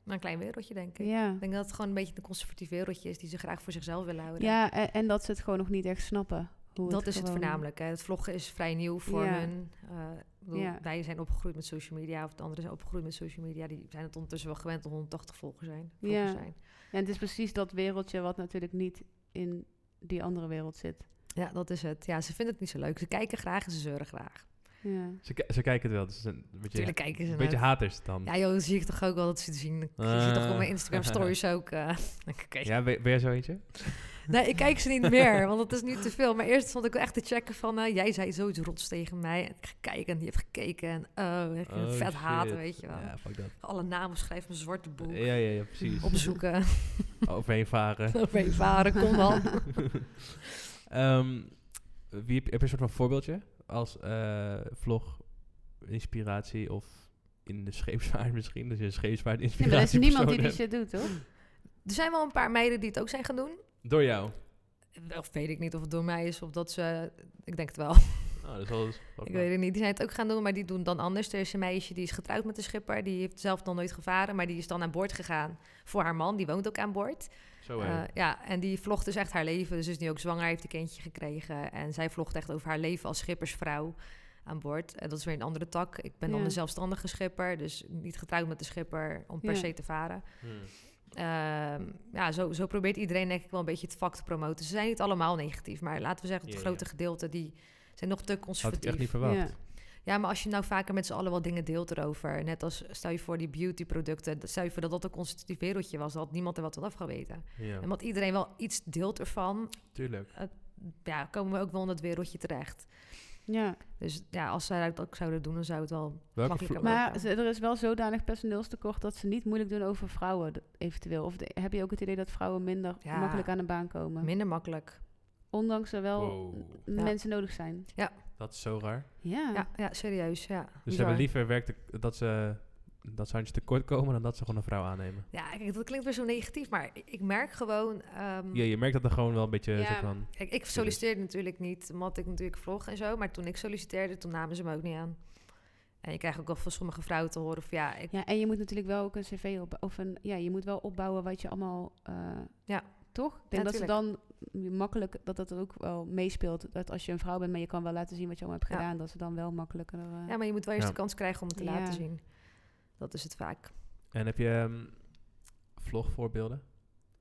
[SPEAKER 1] Maar een klein wereldje, denk ik.
[SPEAKER 3] ja.
[SPEAKER 1] Ik denk dat het gewoon een beetje een conservatief wereldje is die ze graag voor zichzelf willen houden.
[SPEAKER 3] Ja, en, en dat ze het gewoon nog niet echt snappen. Hoe
[SPEAKER 1] Dat is het
[SPEAKER 3] gewoon-
[SPEAKER 1] voornamelijk. Hè. Het vloggen is vrij nieuw voor
[SPEAKER 3] Ja.
[SPEAKER 1] hun. Eh, ik bedoel,
[SPEAKER 3] Ja.
[SPEAKER 1] Wij zijn opgegroeid met social media, of de anderen zijn opgegroeid met social media. Die zijn het ondertussen wel gewend dat 180 volgers zijn. Volgers
[SPEAKER 3] Ja.
[SPEAKER 1] zijn.
[SPEAKER 3] En het is precies dat wereldje wat natuurlijk niet in die andere wereld zit.
[SPEAKER 1] ja, dat is het. Ja, ze vinden het niet zo leuk. Ze kijken graag en ze zeuren graag.
[SPEAKER 3] Ja.
[SPEAKER 2] Ze, ki- ze kijken het wel. Dus ze zijn een beetje,
[SPEAKER 1] Tuurlijk kijken ze
[SPEAKER 2] een beetje
[SPEAKER 1] het.
[SPEAKER 2] haters dan. Ja,
[SPEAKER 1] Ja joh, dat zie ik toch ook wel dat ze te zien. Ik zie toch op mijn
[SPEAKER 2] Eh. [LAUGHS]
[SPEAKER 1] Instagram stories ook. eh, [LAUGHS] denk ik, oké.
[SPEAKER 2] ben, ben jij zo eentje?
[SPEAKER 1] Nee, ik kijk ze niet meer, want dat is nu te veel. Maar eerst vond ik wel echt te checken van... eh, jij zei zoiets rots tegen mij. En ik ga kijken en die heeft gekeken. En oh, ik vind het
[SPEAKER 2] Oh,
[SPEAKER 1] vet
[SPEAKER 2] shit.
[SPEAKER 1] haten, weet je wel.
[SPEAKER 2] Ja, fuck dat.
[SPEAKER 1] Alle namen schrijven in een zwarte boek.
[SPEAKER 2] Ja, ja, ja, precies.
[SPEAKER 1] Opzoeken.
[SPEAKER 2] [LAUGHS] Overheen varen. [LAUGHS]
[SPEAKER 1] Overheen varen, kom dan.
[SPEAKER 2] Ehm, wie, heb heb je een soort van voorbeeldje? als eh, vlog inspiratie of in de scheepsvaart misschien. Dus je scheepsvaart
[SPEAKER 3] Nee, maar er is
[SPEAKER 2] inspiratie.
[SPEAKER 3] niemand die dit shit doet, toch?
[SPEAKER 1] Er zijn wel een paar meiden die het ook zijn gaan doen.
[SPEAKER 2] Door jou.
[SPEAKER 1] Of weet ik niet of het door mij is of dat ze... Ik denk het wel.
[SPEAKER 2] Oh, dat is wel eens-
[SPEAKER 1] [LAUGHS]
[SPEAKER 2] wel
[SPEAKER 1] Ik
[SPEAKER 2] knap.
[SPEAKER 1] weet het niet. Die zijn het ook gaan doen, maar die doen dan anders. Er is een meisje die is getrouwd met een schipper. Die heeft zelf nog nooit gevaren, maar die is dan aan boord gegaan voor haar man. Die woont ook aan boord.
[SPEAKER 2] Zo hé.
[SPEAKER 1] Eh, ja, en die vlogt dus echt haar leven. Dus is nu ook zwanger, heeft een kindje gekregen. En zij vlogt echt over haar leven als schippersvrouw aan boord. En dat is weer een andere tak. Ik ben dan
[SPEAKER 3] Ja.
[SPEAKER 1] een zelfstandige schipper, dus niet getrouwd met de schipper om per
[SPEAKER 3] Ja.
[SPEAKER 1] se te varen.
[SPEAKER 2] Hmm.
[SPEAKER 1] Ehm, ja, zo, zo probeert iedereen denk ik wel een beetje het vak te promoten. Ze zijn niet allemaal negatief, maar laten we zeggen het
[SPEAKER 2] Ja,
[SPEAKER 1] grote
[SPEAKER 2] ja.
[SPEAKER 1] gedeelte die zijn nog te
[SPEAKER 2] Had ik
[SPEAKER 1] conservatief.
[SPEAKER 2] echt niet verwacht.
[SPEAKER 3] Ja.
[SPEAKER 1] Ja, maar als je nou vaker met z'n allen wat dingen deelt erover. Net als stel je voor die beautyproducten. Stel je voor dat dat een conservatief wereldje was. Dan had niemand er wat van af geweten.
[SPEAKER 2] Ja,
[SPEAKER 1] En want iedereen wel iets deelt ervan.
[SPEAKER 2] tuurlijk.
[SPEAKER 1] Ja, komen we ook wel in dat wereldje terecht.
[SPEAKER 3] ja.
[SPEAKER 1] Dus ja, als zij dat ook zouden doen, dan zou het wel
[SPEAKER 2] Welke
[SPEAKER 1] makkelijker
[SPEAKER 2] vlo-
[SPEAKER 1] maken.
[SPEAKER 3] Maar ze- er is wel zodanig personeelstekort dat ze niet moeilijk doen over vrouwen, d- eventueel. Of de- heb je ook het idee dat vrouwen minder
[SPEAKER 1] Ja.
[SPEAKER 3] makkelijk aan de baan komen?
[SPEAKER 1] Minder makkelijk.
[SPEAKER 3] Ondanks er wel
[SPEAKER 2] Wow.
[SPEAKER 3] m-
[SPEAKER 1] Ja.
[SPEAKER 3] mensen nodig zijn.
[SPEAKER 2] Dat is zo raar.
[SPEAKER 3] Ja.
[SPEAKER 1] Ja, ja serieus, ja.
[SPEAKER 2] Dus ze
[SPEAKER 3] Bizar.
[SPEAKER 2] hebben liever werkt de- dat ze dat ze handjes tekort komen dan dat ze gewoon een vrouw aannemen.
[SPEAKER 1] Ja, kijk, dat klinkt weer zo negatief, maar ik- ik merk gewoon... ehm,
[SPEAKER 2] Ja, je merkt dat er gewoon wel een beetje
[SPEAKER 3] Ja.
[SPEAKER 2] soort van.
[SPEAKER 1] Kijk, ik solliciteerde natuurlijk niet, omdat ik natuurlijk vlog en zo. Maar toen ik solliciteerde, toen namen ze me ook niet aan. En je krijgt ook wel van sommige vrouwen te horen van... Ja, ik,
[SPEAKER 3] Ja, en je moet natuurlijk wel ook een cv op of een ja, je moet wel opbouwen wat je allemaal eh,
[SPEAKER 1] Ja.
[SPEAKER 3] toch? Ik
[SPEAKER 1] Ja,
[SPEAKER 3] denk dat ze dan makkelijk dat dat ook wel meespeelt dat als je een vrouw bent, maar je kan wel laten zien wat je allemaal hebt
[SPEAKER 1] Ja.
[SPEAKER 3] gedaan, dat ze dan wel makkelijker. eh,
[SPEAKER 1] Ja, maar je moet wel eerst
[SPEAKER 2] Ja.
[SPEAKER 1] de kans krijgen om het te
[SPEAKER 3] Ja.
[SPEAKER 1] laten zien. Dat is het vaak.
[SPEAKER 2] En heb je ehm, vlogvoorbeelden?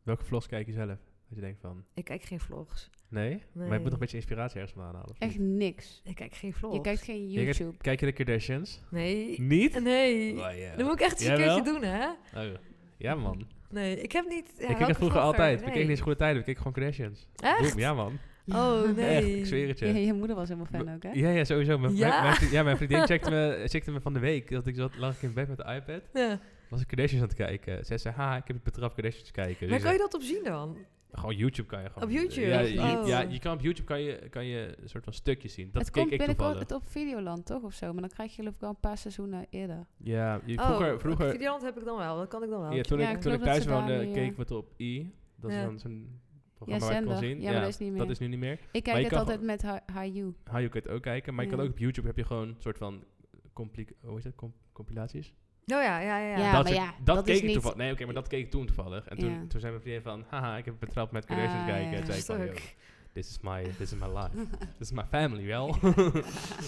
[SPEAKER 2] Welke vlogs kijk je zelf? Dat je denkt van,
[SPEAKER 1] Ik kijk geen vlogs.
[SPEAKER 2] nee? Maar je
[SPEAKER 1] Nee.
[SPEAKER 2] moet nog een beetje inspiratie ergens vandaan halen. of
[SPEAKER 3] Echt
[SPEAKER 2] niet?
[SPEAKER 3] niks.
[SPEAKER 1] Ik kijk geen vlogs.
[SPEAKER 3] Je kijkt geen
[SPEAKER 2] kijkt-
[SPEAKER 3] YouTube.
[SPEAKER 2] Kijk je de Kardashians?
[SPEAKER 1] Nee.
[SPEAKER 2] Niet?
[SPEAKER 1] Nee.
[SPEAKER 2] Oh, ja.
[SPEAKER 1] Dat moet ik echt eens een
[SPEAKER 2] Jawel?
[SPEAKER 1] keertje doen, hè?
[SPEAKER 2] Oh, ja man.
[SPEAKER 1] Nee, ik heb niet... Ja,
[SPEAKER 2] ik keek
[SPEAKER 1] welke
[SPEAKER 2] het vroeger
[SPEAKER 1] vlogger?
[SPEAKER 2] altijd. Ik keek niet
[SPEAKER 1] Nee.
[SPEAKER 2] eens goede tijden. Ik keek gewoon Kardashians.
[SPEAKER 1] Echt?
[SPEAKER 2] Boem, ja man.
[SPEAKER 1] Oh, nee.
[SPEAKER 2] Echt, ik zweer het je.
[SPEAKER 3] Ja, je moeder was helemaal fan
[SPEAKER 2] B-
[SPEAKER 3] ook, hè?
[SPEAKER 2] Ja, ja, sowieso. Mijn,
[SPEAKER 1] Ja?
[SPEAKER 2] mijn- mijn vri- ja, mijn vriendin checkte me, checkte me van de week. Dat ik zat, lag ik in bed met de iPad.
[SPEAKER 1] Ja.
[SPEAKER 2] Was ik Kardashians aan het kijken. Zij zei, ha, ik heb het betrapt Kardashians te kijken.
[SPEAKER 1] Maar
[SPEAKER 2] Dus
[SPEAKER 1] kan je
[SPEAKER 2] ik
[SPEAKER 1] dat op zien dan?
[SPEAKER 2] zei, Gewoon YouTube kan je gewoon.
[SPEAKER 1] Op YouTube?
[SPEAKER 2] Ja, je,
[SPEAKER 1] Oh.
[SPEAKER 2] ja, je kan op YouTube kan je, kan je een soort van stukjes zien. Dat
[SPEAKER 3] het
[SPEAKER 2] keek
[SPEAKER 3] komt
[SPEAKER 2] ik toevallig.
[SPEAKER 3] binnenkort op Videoland, toch? Of zo. Maar dan krijg je geloof ik al een paar seizoenen eerder.
[SPEAKER 2] Ja, je- vroeger...
[SPEAKER 1] oh,
[SPEAKER 2] vroeger
[SPEAKER 1] Videoland heb ik dan wel. Dat kan ik dan wel.
[SPEAKER 2] ja, toen
[SPEAKER 3] Ja,
[SPEAKER 2] ik,
[SPEAKER 3] ik
[SPEAKER 2] toen
[SPEAKER 3] geloof
[SPEAKER 2] ik
[SPEAKER 3] dat
[SPEAKER 2] thuis
[SPEAKER 3] ze daar
[SPEAKER 2] woonde,
[SPEAKER 3] nu, eh,
[SPEAKER 2] keek we het op I. Dat
[SPEAKER 1] Ja.
[SPEAKER 2] is dan zo'n
[SPEAKER 3] Ja,
[SPEAKER 2] programma waar ik
[SPEAKER 3] zender.
[SPEAKER 2] kon zien.
[SPEAKER 3] Ja, maar dat is niet meer.
[SPEAKER 2] Dat is nu niet meer.
[SPEAKER 3] Ik
[SPEAKER 2] Maar
[SPEAKER 3] kijk
[SPEAKER 2] je
[SPEAKER 3] het
[SPEAKER 2] kan
[SPEAKER 3] altijd met Hi- Hi You.
[SPEAKER 2] Ha, je kan het ook kijken. Maar je
[SPEAKER 3] Ja.
[SPEAKER 2] kan ook op YouTube heb je gewoon een soort van... compli- hoe is dat? Com- compilaties?
[SPEAKER 1] Oh ja, ja, ja.
[SPEAKER 3] Ja.
[SPEAKER 1] ja.
[SPEAKER 2] dat
[SPEAKER 3] maar
[SPEAKER 2] soort-
[SPEAKER 3] ja,
[SPEAKER 2] dat
[SPEAKER 3] dat
[SPEAKER 2] keek
[SPEAKER 3] is
[SPEAKER 2] ik
[SPEAKER 3] niet-
[SPEAKER 2] toevallig. Nee, oké, maar dat keek ik toen toevallig. En toen,
[SPEAKER 3] Ja.
[SPEAKER 2] toen zei mijn vriendin van, haha, ik heb het betrapt met Kardashians
[SPEAKER 3] Ah,
[SPEAKER 2] kijken.
[SPEAKER 3] ja.
[SPEAKER 2] En zei ik van, yo,
[SPEAKER 1] Stuk.
[SPEAKER 2] this is my, this is my life. this is my family, wel.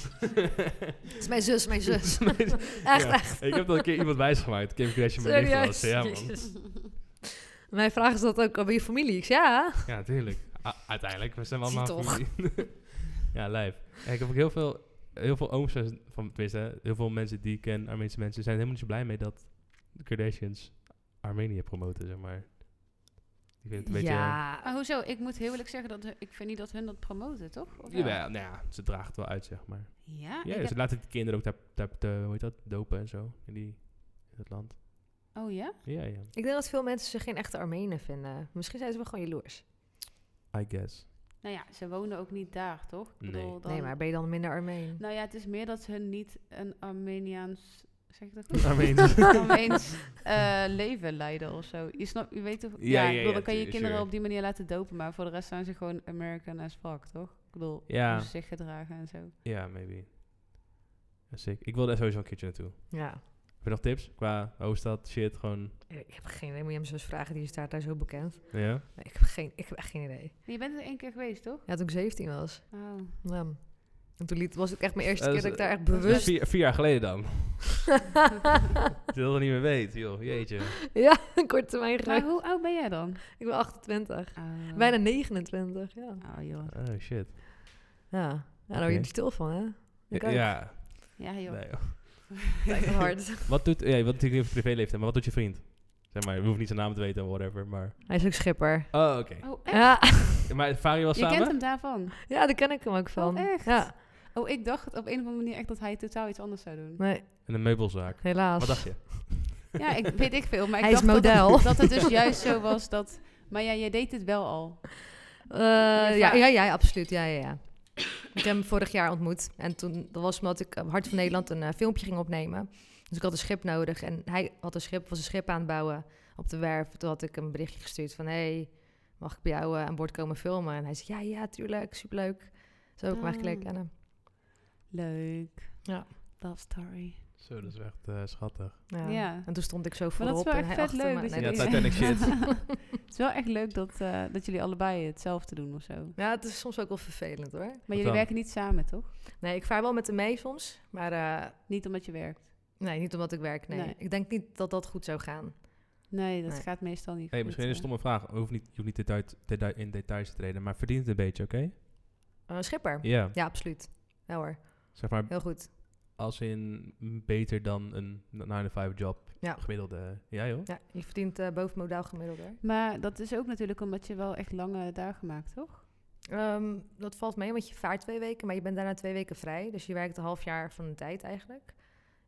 [SPEAKER 1] Het is mijn zus,
[SPEAKER 2] [LAUGHS]
[SPEAKER 1] mijn zus.
[SPEAKER 2] Ja,
[SPEAKER 1] [LAUGHS] echt, echt.
[SPEAKER 2] Ik heb dat een keer iemand wijsgemaakt. Kim Kardashian mijn nicht was. Ja, man.
[SPEAKER 1] Jezus. [LAUGHS] Mijn vraag is dat ook. Oh, Ben je familie? Ik zei, ja.
[SPEAKER 2] Ja, tuurlijk. A- uiteindelijk, we zijn
[SPEAKER 1] Zie
[SPEAKER 2] allemaal
[SPEAKER 1] toch.
[SPEAKER 2] familie. [LAUGHS] ja, lijf. En ik heb ook heel veel, heel veel ooms, en- van, tenminste, heel veel mensen die ik ken, Armeense mensen, zijn helemaal niet zo blij mee dat de Kardashians Armenië promoten, zeg maar. Die vinden het een beetje...
[SPEAKER 1] ja.
[SPEAKER 3] Maar Ah, hoezo? Ik moet heel eerlijk zeggen, dat hun- ik vind niet dat hun dat promoten, toch? Of wel?
[SPEAKER 2] Jawel, nou ja, ze draagt het wel uit, zeg maar.
[SPEAKER 3] Ja?
[SPEAKER 2] Ja,
[SPEAKER 3] Ik
[SPEAKER 2] ze
[SPEAKER 3] heb-
[SPEAKER 2] laten de kinderen ook daar, daar, daar- hoe heet dat, dopen en zo, in, die, in dat land.
[SPEAKER 3] Oh ja?
[SPEAKER 2] Ja, ja,
[SPEAKER 1] Ik denk dat veel mensen zich geen echte Armenen vinden. Misschien zijn ze wel gewoon jaloers.
[SPEAKER 2] I guess.
[SPEAKER 3] Nou ja, ze wonen ook niet daar, toch? Ik
[SPEAKER 2] Nee.
[SPEAKER 3] bedoel, dan...
[SPEAKER 1] Nee, maar ben je dan minder Armeen?
[SPEAKER 3] Nou ja, het is meer dat ze hun niet een Armeniaans... Zeg ik dat goed?
[SPEAKER 2] Armenisch.
[SPEAKER 3] [LAUGHS] Armeens eh, leven leiden of zo. Je, snapt, je weet toch... Ja,
[SPEAKER 2] ja,
[SPEAKER 3] ik bedoel,
[SPEAKER 2] ja,
[SPEAKER 3] dan kan je je
[SPEAKER 2] tuurlijk,
[SPEAKER 3] kinderen
[SPEAKER 2] sure.
[SPEAKER 3] op die manier laten dopen. Maar voor de rest zijn ze gewoon American as fuck, toch? Ik bedoel,
[SPEAKER 2] Ja.
[SPEAKER 3] hoe ze zich gedragen en zo.
[SPEAKER 2] Ja, maybe. Sick. Ik wil daar sowieso een keertje naartoe.
[SPEAKER 1] Ja.
[SPEAKER 2] Heb je nog tips qua hoofdstad, shit, gewoon...
[SPEAKER 1] Ik heb geen idee. Moet je hem zo eens vragen? Die is daar, daar zo bekend.
[SPEAKER 2] Ja?
[SPEAKER 1] Nee, ik, heb geen, ik heb echt geen idee.
[SPEAKER 3] Je bent er één keer geweest, toch?
[SPEAKER 1] Ja, toen ik 17 was.
[SPEAKER 3] Oh.
[SPEAKER 1] Ja. En toen liet, was het echt mijn eerste
[SPEAKER 2] Eh,
[SPEAKER 1] keer
[SPEAKER 2] dat
[SPEAKER 1] dat ik
[SPEAKER 2] is-
[SPEAKER 1] daar echt
[SPEAKER 2] Dat is
[SPEAKER 1] bewust...
[SPEAKER 2] Vier, vier jaar geleden dan. [LAUGHS] Dat je dat niet meer weet, joh. Jeetje.
[SPEAKER 1] [LAUGHS] ja, een kort termijn
[SPEAKER 3] Maar
[SPEAKER 1] geheugen.
[SPEAKER 3] hoe oud ben jij dan?
[SPEAKER 1] Ik ben 28.
[SPEAKER 3] Oh.
[SPEAKER 1] Bijna 29, ja.
[SPEAKER 3] Oh, joh.
[SPEAKER 2] Oh, shit.
[SPEAKER 1] Ja, ja daar word je
[SPEAKER 2] Oké.
[SPEAKER 1] er stil van, hè? Ik ook.
[SPEAKER 2] Ja.
[SPEAKER 3] Ja, joh.
[SPEAKER 2] Nee, joh.
[SPEAKER 1] Lijkt me hard.
[SPEAKER 2] Wat doet... Ja, wat natuurlijk niet over privéleeftijd, maar wat doet je vriend? Zeg maar, je hoeft niet zijn naam te weten of whatever, maar...
[SPEAKER 1] [LAUGHS] Hij is ook schipper.
[SPEAKER 2] Oh, oké.
[SPEAKER 3] Oh, echt?
[SPEAKER 1] Ja, [LAUGHS]
[SPEAKER 2] Maar varen was
[SPEAKER 3] Je
[SPEAKER 2] samen?
[SPEAKER 3] kent hem daarvan?
[SPEAKER 1] ja, daar ken ik hem ook van.
[SPEAKER 3] echt?
[SPEAKER 1] Ja,
[SPEAKER 3] Oh, ik dacht op een of andere manier echt dat hij totaal iets anders zou doen.
[SPEAKER 1] nee,
[SPEAKER 2] En een meubelzaak.
[SPEAKER 1] helaas.
[SPEAKER 2] Wat dacht je?
[SPEAKER 3] Ja, ik weet ik veel. Maar ik
[SPEAKER 1] Hij is
[SPEAKER 3] dacht dat het-
[SPEAKER 1] model.
[SPEAKER 3] [LAUGHS] Dat, het dus juist zo was dat... Maar ja, jij deed dit wel al.
[SPEAKER 1] Eh, ja,
[SPEAKER 3] vaak.
[SPEAKER 1] ja, ja, absoluut. Ja, ja, ja. Ik heb hem vorig jaar ontmoet. En toen, dat was omdat ik op Hart van Nederland een eh, filmpje ging opnemen. Dus ik had een schip nodig. En hij had een schip, was een schip aan het bouwen op de werf. Toen had ik een berichtje gestuurd van... Hey, mag ik bij jou eh, aan boord komen filmen? En hij zei, ja, ja, tuurlijk, superleuk. Zo heb ik hem eigenlijk
[SPEAKER 3] Ah.
[SPEAKER 1] leren kennen.
[SPEAKER 3] Leuk.
[SPEAKER 1] Ja.
[SPEAKER 3] Love story.
[SPEAKER 2] Zo, dat is echt eh, schattig.
[SPEAKER 1] Ja.
[SPEAKER 3] Ja.
[SPEAKER 1] En toen stond ik zo
[SPEAKER 3] Maar dat is
[SPEAKER 1] voorop
[SPEAKER 3] wel
[SPEAKER 1] en
[SPEAKER 3] echt
[SPEAKER 1] hij
[SPEAKER 3] vet
[SPEAKER 1] achter
[SPEAKER 3] leuk.
[SPEAKER 1] me.
[SPEAKER 3] dat
[SPEAKER 1] Nee,
[SPEAKER 2] je
[SPEAKER 1] dat
[SPEAKER 2] die-
[SPEAKER 1] is-
[SPEAKER 2] Ja, Titanic shit.
[SPEAKER 1] [LAUGHS]
[SPEAKER 3] het is wel echt leuk dat, eh, dat jullie allebei hetzelfde doen of zo. Maar
[SPEAKER 1] Ja, het is soms ook wel vervelend hoor.
[SPEAKER 3] jullie
[SPEAKER 2] dan?
[SPEAKER 3] werken niet samen, toch?
[SPEAKER 1] Nee, ik vaar wel met hem mee soms. Maar eh,
[SPEAKER 3] Niet omdat je werkt.
[SPEAKER 1] nee, niet omdat ik werk. Nee.
[SPEAKER 3] Nee.
[SPEAKER 1] ik denk niet dat dat goed zou gaan.
[SPEAKER 3] Nee, dat
[SPEAKER 1] Nee.
[SPEAKER 3] gaat meestal niet.
[SPEAKER 2] Hey,
[SPEAKER 3] goed,
[SPEAKER 2] misschien een
[SPEAKER 3] eh.
[SPEAKER 2] stomme vraag. Hoef niet, je hoeft niet detail- detail- in details te treden, maar verdient het een beetje, oké?
[SPEAKER 1] Eh, schipper? Ja.
[SPEAKER 2] Ja.
[SPEAKER 1] absoluut. Ja hoor,
[SPEAKER 2] Zeg maar,
[SPEAKER 1] heel goed.
[SPEAKER 2] als in beter dan een 9-to-5 job
[SPEAKER 1] Ja.
[SPEAKER 2] gemiddelde. Ja, joh.
[SPEAKER 1] Ja, je verdient eh boven modaal gemiddeld hoor.
[SPEAKER 3] Maar dat is ook natuurlijk omdat je wel echt lange dagen maakt, toch?
[SPEAKER 1] Ehm, dat valt mee, want je vaart twee weken, maar je bent daarna twee weken vrij. Dus je werkt een half jaar van de tijd eigenlijk.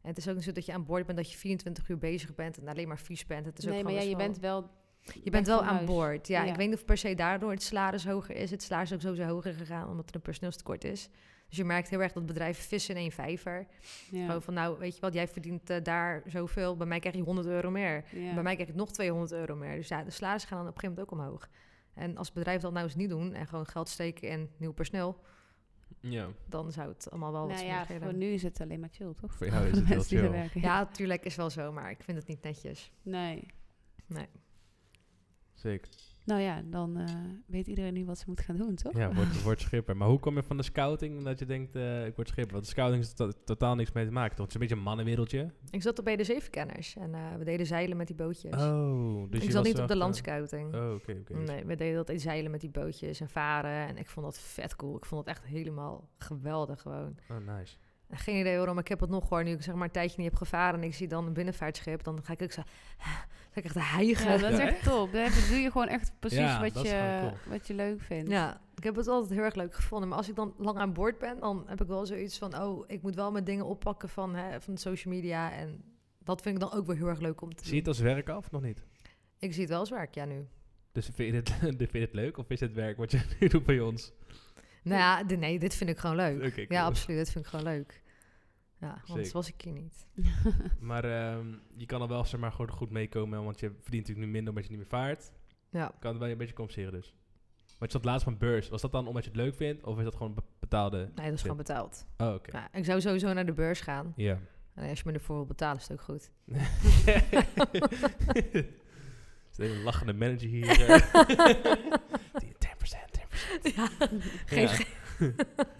[SPEAKER 1] En het is ook niet zo dat je aan boord bent dat je 24 uur bezig bent en alleen maar vies bent. Het is ook
[SPEAKER 3] nee, maar
[SPEAKER 1] gewoon
[SPEAKER 3] ja, je
[SPEAKER 1] best wel-
[SPEAKER 3] bent wel.
[SPEAKER 1] je bent wel aan boord. Ja,
[SPEAKER 3] Ja.
[SPEAKER 1] ik weet niet of per se daardoor het salaris hoger is. Het salaris is ook sowieso hoger gegaan omdat er een personeelstekort is. Dus je merkt heel erg dat bedrijven vissen in één vijver. Gewoon van, nou, weet je wat, jij verdient eh, daar zoveel. Bij mij krijg je 100 euro meer. Bij mij krijg ik nog 200 euro meer. Dus ja, de salarissen gaan dan op een gegeven moment ook omhoog. En als bedrijven dat nou eens niet doen en gewoon geld steken in nieuw personeel,
[SPEAKER 2] Ja.
[SPEAKER 1] dan zou het allemaal wel wat
[SPEAKER 3] nou ja,
[SPEAKER 1] smoother
[SPEAKER 3] voor
[SPEAKER 1] gaan.
[SPEAKER 3] nu is het alleen maar chill, toch?
[SPEAKER 2] Voor
[SPEAKER 3] [LAUGHS]
[SPEAKER 2] jou is het heel
[SPEAKER 3] Mensen die er
[SPEAKER 2] chill.
[SPEAKER 3] werken.
[SPEAKER 1] Ja, natuurlijk is wel zo, maar ik vind het niet netjes.
[SPEAKER 3] Nee.
[SPEAKER 2] Zeker.
[SPEAKER 3] Nou ja, dan eh, weet iedereen nu wat ze moet gaan doen, toch?
[SPEAKER 2] Ja, word, word schipper. Maar hoe kom je van de scouting dat je denkt, eh, ik word schipper? Want scouting is to- totaal niks mee te maken, toch? Het is een beetje een mannenwereldje.
[SPEAKER 1] Ik zat op bij de zevenkenners en eh, we deden zeilen met die bootjes.
[SPEAKER 2] Oh, dus
[SPEAKER 1] ik
[SPEAKER 2] je
[SPEAKER 1] zat niet
[SPEAKER 2] was
[SPEAKER 1] op de
[SPEAKER 2] echt, eh,
[SPEAKER 1] landscouting.
[SPEAKER 2] Oh, oké, oké.
[SPEAKER 1] Nee, we deden dat zeilen met die bootjes en varen. En ik vond dat vet cool. Ik vond het echt helemaal geweldig gewoon.
[SPEAKER 2] Oh, nice.
[SPEAKER 1] En Geen idee waarom, maar ik heb het nog gewoon. Nu ik zeg maar een tijdje niet heb gevaren en ik zie dan een binnenvaartschip, dan ga ik ook zo... [SIGHS] Ga ik echt hijgen.
[SPEAKER 3] Ja, dat is
[SPEAKER 2] Ja,
[SPEAKER 3] echt top. Dan heb- doe je gewoon echt precies
[SPEAKER 2] Ja,
[SPEAKER 3] wat,
[SPEAKER 2] dat is
[SPEAKER 3] je,
[SPEAKER 2] gewoon
[SPEAKER 3] wat je leuk vindt.
[SPEAKER 1] Ja, ik heb het altijd heel erg leuk gevonden. Maar als ik dan lang aan boord ben, dan heb ik wel zoiets van... oh, ik moet wel mijn dingen oppakken van, hè, van social media. En dat vind ik dan ook wel heel erg leuk om te
[SPEAKER 2] Zie je het
[SPEAKER 1] doen.
[SPEAKER 2] als werk af, nog niet?
[SPEAKER 1] Ik zie het wel als werk, ja, nu.
[SPEAKER 2] Dus vind je, dit, [LAUGHS] vind je dit leuk of is het werk wat je [LAUGHS] nu doet bij ons?
[SPEAKER 1] Nou ja, di- nee, dit vind ik gewoon leuk.
[SPEAKER 2] Oké,
[SPEAKER 1] Ja,
[SPEAKER 2] cool.
[SPEAKER 1] absoluut, dit vind ik gewoon leuk. Ja, anders
[SPEAKER 2] Zeker.
[SPEAKER 1] was ik hier niet.
[SPEAKER 2] Maar ehm, je kan er wel zeg maar, gewoon goed meekomen, want je verdient natuurlijk nu minder omdat je niet meer vaart.
[SPEAKER 1] Ja.
[SPEAKER 2] Kan het wel een beetje compenseren dus. Maar je zat laatst van beurs. Was dat dan omdat je het leuk vindt of is dat gewoon be- betaalde?
[SPEAKER 1] Nee, dat is
[SPEAKER 2] Shit.
[SPEAKER 1] gewoon betaald.
[SPEAKER 2] Oh, oké.
[SPEAKER 1] Ja, ik zou sowieso naar de beurs gaan.
[SPEAKER 2] Ja. [LAUGHS]
[SPEAKER 1] En als je me ervoor wil betalen, is het ook goed.
[SPEAKER 2] Er is een hele lachende manager hier. [LAUGHS] eh. Die 10%, 10%.
[SPEAKER 1] Ja, geen
[SPEAKER 2] Ja.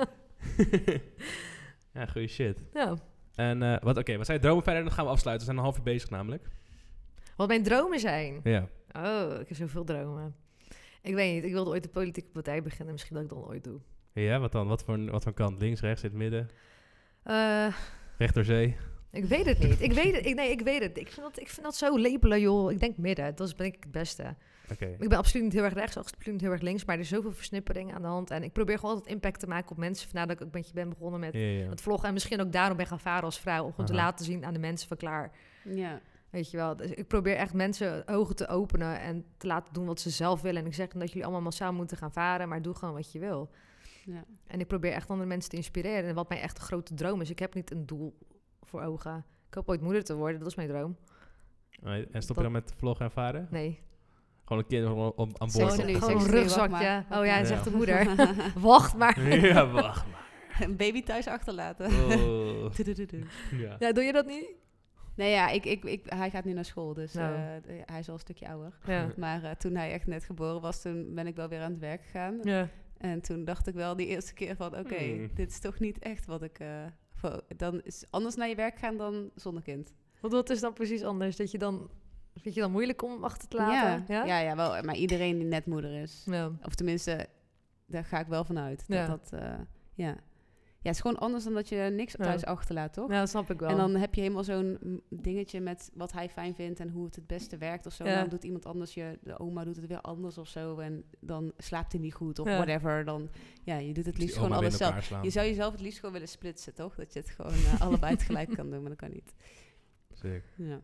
[SPEAKER 1] [LAUGHS]
[SPEAKER 2] ja, goeie shit.
[SPEAKER 1] ja.
[SPEAKER 2] En eh, wat, oké, wat zijn je dromen verder? Dan gaan we afsluiten. We zijn een half uur bezig namelijk.
[SPEAKER 1] Wat mijn dromen zijn.
[SPEAKER 2] Ja.
[SPEAKER 1] Oh, ik heb zoveel dromen. Ik weet niet, ik wilde ooit een politieke partij beginnen. Misschien dat ik dat ooit doe.
[SPEAKER 2] Ja, wat dan? Wat voor, een- wat voor kant? Links, rechts, in het midden?
[SPEAKER 1] Eh,
[SPEAKER 2] Recht door zee?
[SPEAKER 1] ik weet het niet. Ik weet het, ik, nee, ik weet het. Ik vind, dat, ik vind dat zo lepelen, joh. Ik denk midden. Dat is denk ik het beste.
[SPEAKER 2] Oké.
[SPEAKER 1] Ik ben absoluut niet heel erg rechts, absoluut niet heel erg links. Maar er is zoveel versnippering aan de hand. En ik probeer gewoon altijd impact te maken op mensen. Vandaar dat ik ook een beetje ben begonnen met
[SPEAKER 2] Ja, ja.
[SPEAKER 1] het vloggen. En misschien ook daarom ben gaan varen als vrouw. Om gewoon te
[SPEAKER 2] Aha.
[SPEAKER 1] laten zien aan de mensen van klaar.
[SPEAKER 3] [LAUGHS] Ja.
[SPEAKER 1] Weet je wel, dus ik probeer echt mensen ogen te openen en te laten doen wat ze zelf willen. En ik zeg niet dat jullie allemaal massaal moeten gaan varen, maar doe gewoon wat je wil.
[SPEAKER 3] Ja.
[SPEAKER 1] En ik probeer echt andere mensen te inspireren. En wat mijn echt grote droom is, ik heb niet een doel voor ogen. Ik hoop ooit moeder te worden, dat is mijn droom.
[SPEAKER 2] Alright, En stop je
[SPEAKER 1] Dat-
[SPEAKER 2] dan met vloggen en varen?
[SPEAKER 1] Nee,
[SPEAKER 2] Gewoon een keer om, om, aan boord.
[SPEAKER 3] Zeg
[SPEAKER 1] gewoon,
[SPEAKER 3] ze nu,
[SPEAKER 2] op-
[SPEAKER 1] gewoon een
[SPEAKER 3] zeg ze nu, wacht
[SPEAKER 1] rugzakje.
[SPEAKER 3] maar.
[SPEAKER 1] Oh ja,
[SPEAKER 2] Ja.
[SPEAKER 1] en zegt de moeder, wacht maar.
[SPEAKER 3] [LAUGHS]
[SPEAKER 2] ja, wacht.
[SPEAKER 3] Een baby thuis achterlaten. [LAUGHS]
[SPEAKER 2] Oh.
[SPEAKER 3] Tudududu.
[SPEAKER 2] Ja.
[SPEAKER 1] Ja, doe je dat niet?
[SPEAKER 3] Nee, Nou ja, ik, ik, ik, hij gaat nu naar school, dus
[SPEAKER 1] Nou.
[SPEAKER 3] eh, d- hij is al een stukje ouder.
[SPEAKER 1] Ja.
[SPEAKER 3] Maar eh, toen hij echt net geboren was, toen ben ik wel weer aan het werk gegaan.
[SPEAKER 1] ja.
[SPEAKER 3] En toen dacht ik wel die eerste keer van, oké,
[SPEAKER 2] Hmm.
[SPEAKER 3] dit is toch niet echt wat ik... eh, voor- dan is anders naar je werk gaan dan zonder kind.
[SPEAKER 1] Want wat is dan precies anders? Dat je dan, vind je dan moeilijk om achter te laten?
[SPEAKER 3] Ja, ja, ja, wel, maar iedereen die net moeder is.
[SPEAKER 1] ja.
[SPEAKER 3] Of tenminste, daar ga ik wel vanuit. Dat
[SPEAKER 1] Ja.
[SPEAKER 3] dat, eh, ja. ja, het is gewoon anders dan dat je niks
[SPEAKER 1] Ja.
[SPEAKER 3] thuis achterlaat, toch?
[SPEAKER 1] Ja, dat snap ik wel.
[SPEAKER 3] En dan heb je helemaal zo'n mm, dingetje met wat hij fijn vindt en hoe het het beste werkt of zo.
[SPEAKER 1] Ja.
[SPEAKER 3] Dan doet iemand anders je, de oma doet het weer anders of zo. En dan slaapt hij niet goed of
[SPEAKER 1] Ja.
[SPEAKER 3] whatever. Dan, ja, je doet het
[SPEAKER 2] Die
[SPEAKER 3] liefst
[SPEAKER 2] oma
[SPEAKER 3] gewoon
[SPEAKER 2] weer
[SPEAKER 3] alles
[SPEAKER 2] in
[SPEAKER 3] zelf.
[SPEAKER 2] elkaar slaan.
[SPEAKER 3] Je zou jezelf het liefst gewoon willen
[SPEAKER 1] [LAUGHS]
[SPEAKER 3] splitsen, toch? Dat je het gewoon eh, allebei tegelijk kan doen, maar dat kan niet.
[SPEAKER 2] Zeker.
[SPEAKER 3] Ja.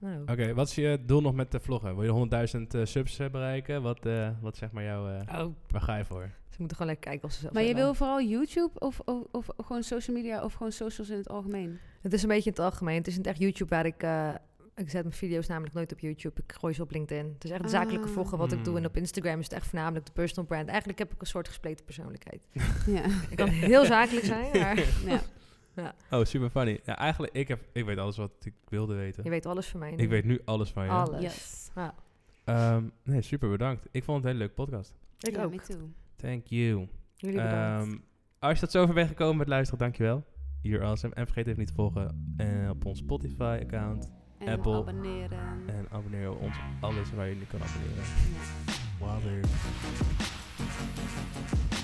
[SPEAKER 1] Nou,
[SPEAKER 2] Oké, wat is je doel nog met de vloggen? Wil je 100.000 eh, subs eh, bereiken? Wat, eh, wat zeg maar jouw... eh,
[SPEAKER 1] oh,
[SPEAKER 2] waar ga je voor?
[SPEAKER 1] ze moeten gewoon lekker kijken of ze zelf
[SPEAKER 3] Maar je
[SPEAKER 1] willen.
[SPEAKER 3] wil vooral YouTube of, of, of gewoon social media of gewoon socials in het algemeen?
[SPEAKER 1] Het is een beetje in het algemeen. Het is niet echt YouTube waar ik... eh, ik zet mijn video's namelijk nooit op YouTube. Ik gooi ze op LinkedIn. Het is echt het zakelijke
[SPEAKER 3] Ah.
[SPEAKER 1] vloggen wat ik doe. En
[SPEAKER 2] Hmm.
[SPEAKER 1] op Instagram is het echt voornamelijk de personal brand. Eigenlijk heb ik een soort gespleten
[SPEAKER 3] [LAUGHS]
[SPEAKER 1] persoonlijkheid.
[SPEAKER 3] Ja.
[SPEAKER 1] [LAUGHS] Ik kan heel zakelijk zijn,
[SPEAKER 3] [LAUGHS]
[SPEAKER 1] maar
[SPEAKER 3] ja.
[SPEAKER 2] Oh, super funny. Ja, eigenlijk, ik, heb, ik weet alles wat ik wilde weten.
[SPEAKER 1] je weet alles van mij. nu.
[SPEAKER 2] Ik weet nu alles van je.
[SPEAKER 1] alles.
[SPEAKER 3] Yes.
[SPEAKER 1] Ja,
[SPEAKER 2] Ehm, nee, super bedankt. Ik vond het een hele leuke podcast.
[SPEAKER 1] ik
[SPEAKER 3] Ja,
[SPEAKER 1] ook.
[SPEAKER 3] me too.
[SPEAKER 2] Thank you.
[SPEAKER 1] Jullie bedankt.
[SPEAKER 2] Ehm, als je tot zover bent gekomen met luisteren, dankjewel. You're awesome. En vergeet even niet te volgen eh, op ons Spotify-account.
[SPEAKER 3] En
[SPEAKER 2] Apple.
[SPEAKER 3] abonneren.
[SPEAKER 2] En abonneer je op ons alles waar je nu kan abonneren.
[SPEAKER 3] Ja.
[SPEAKER 2] Wilder.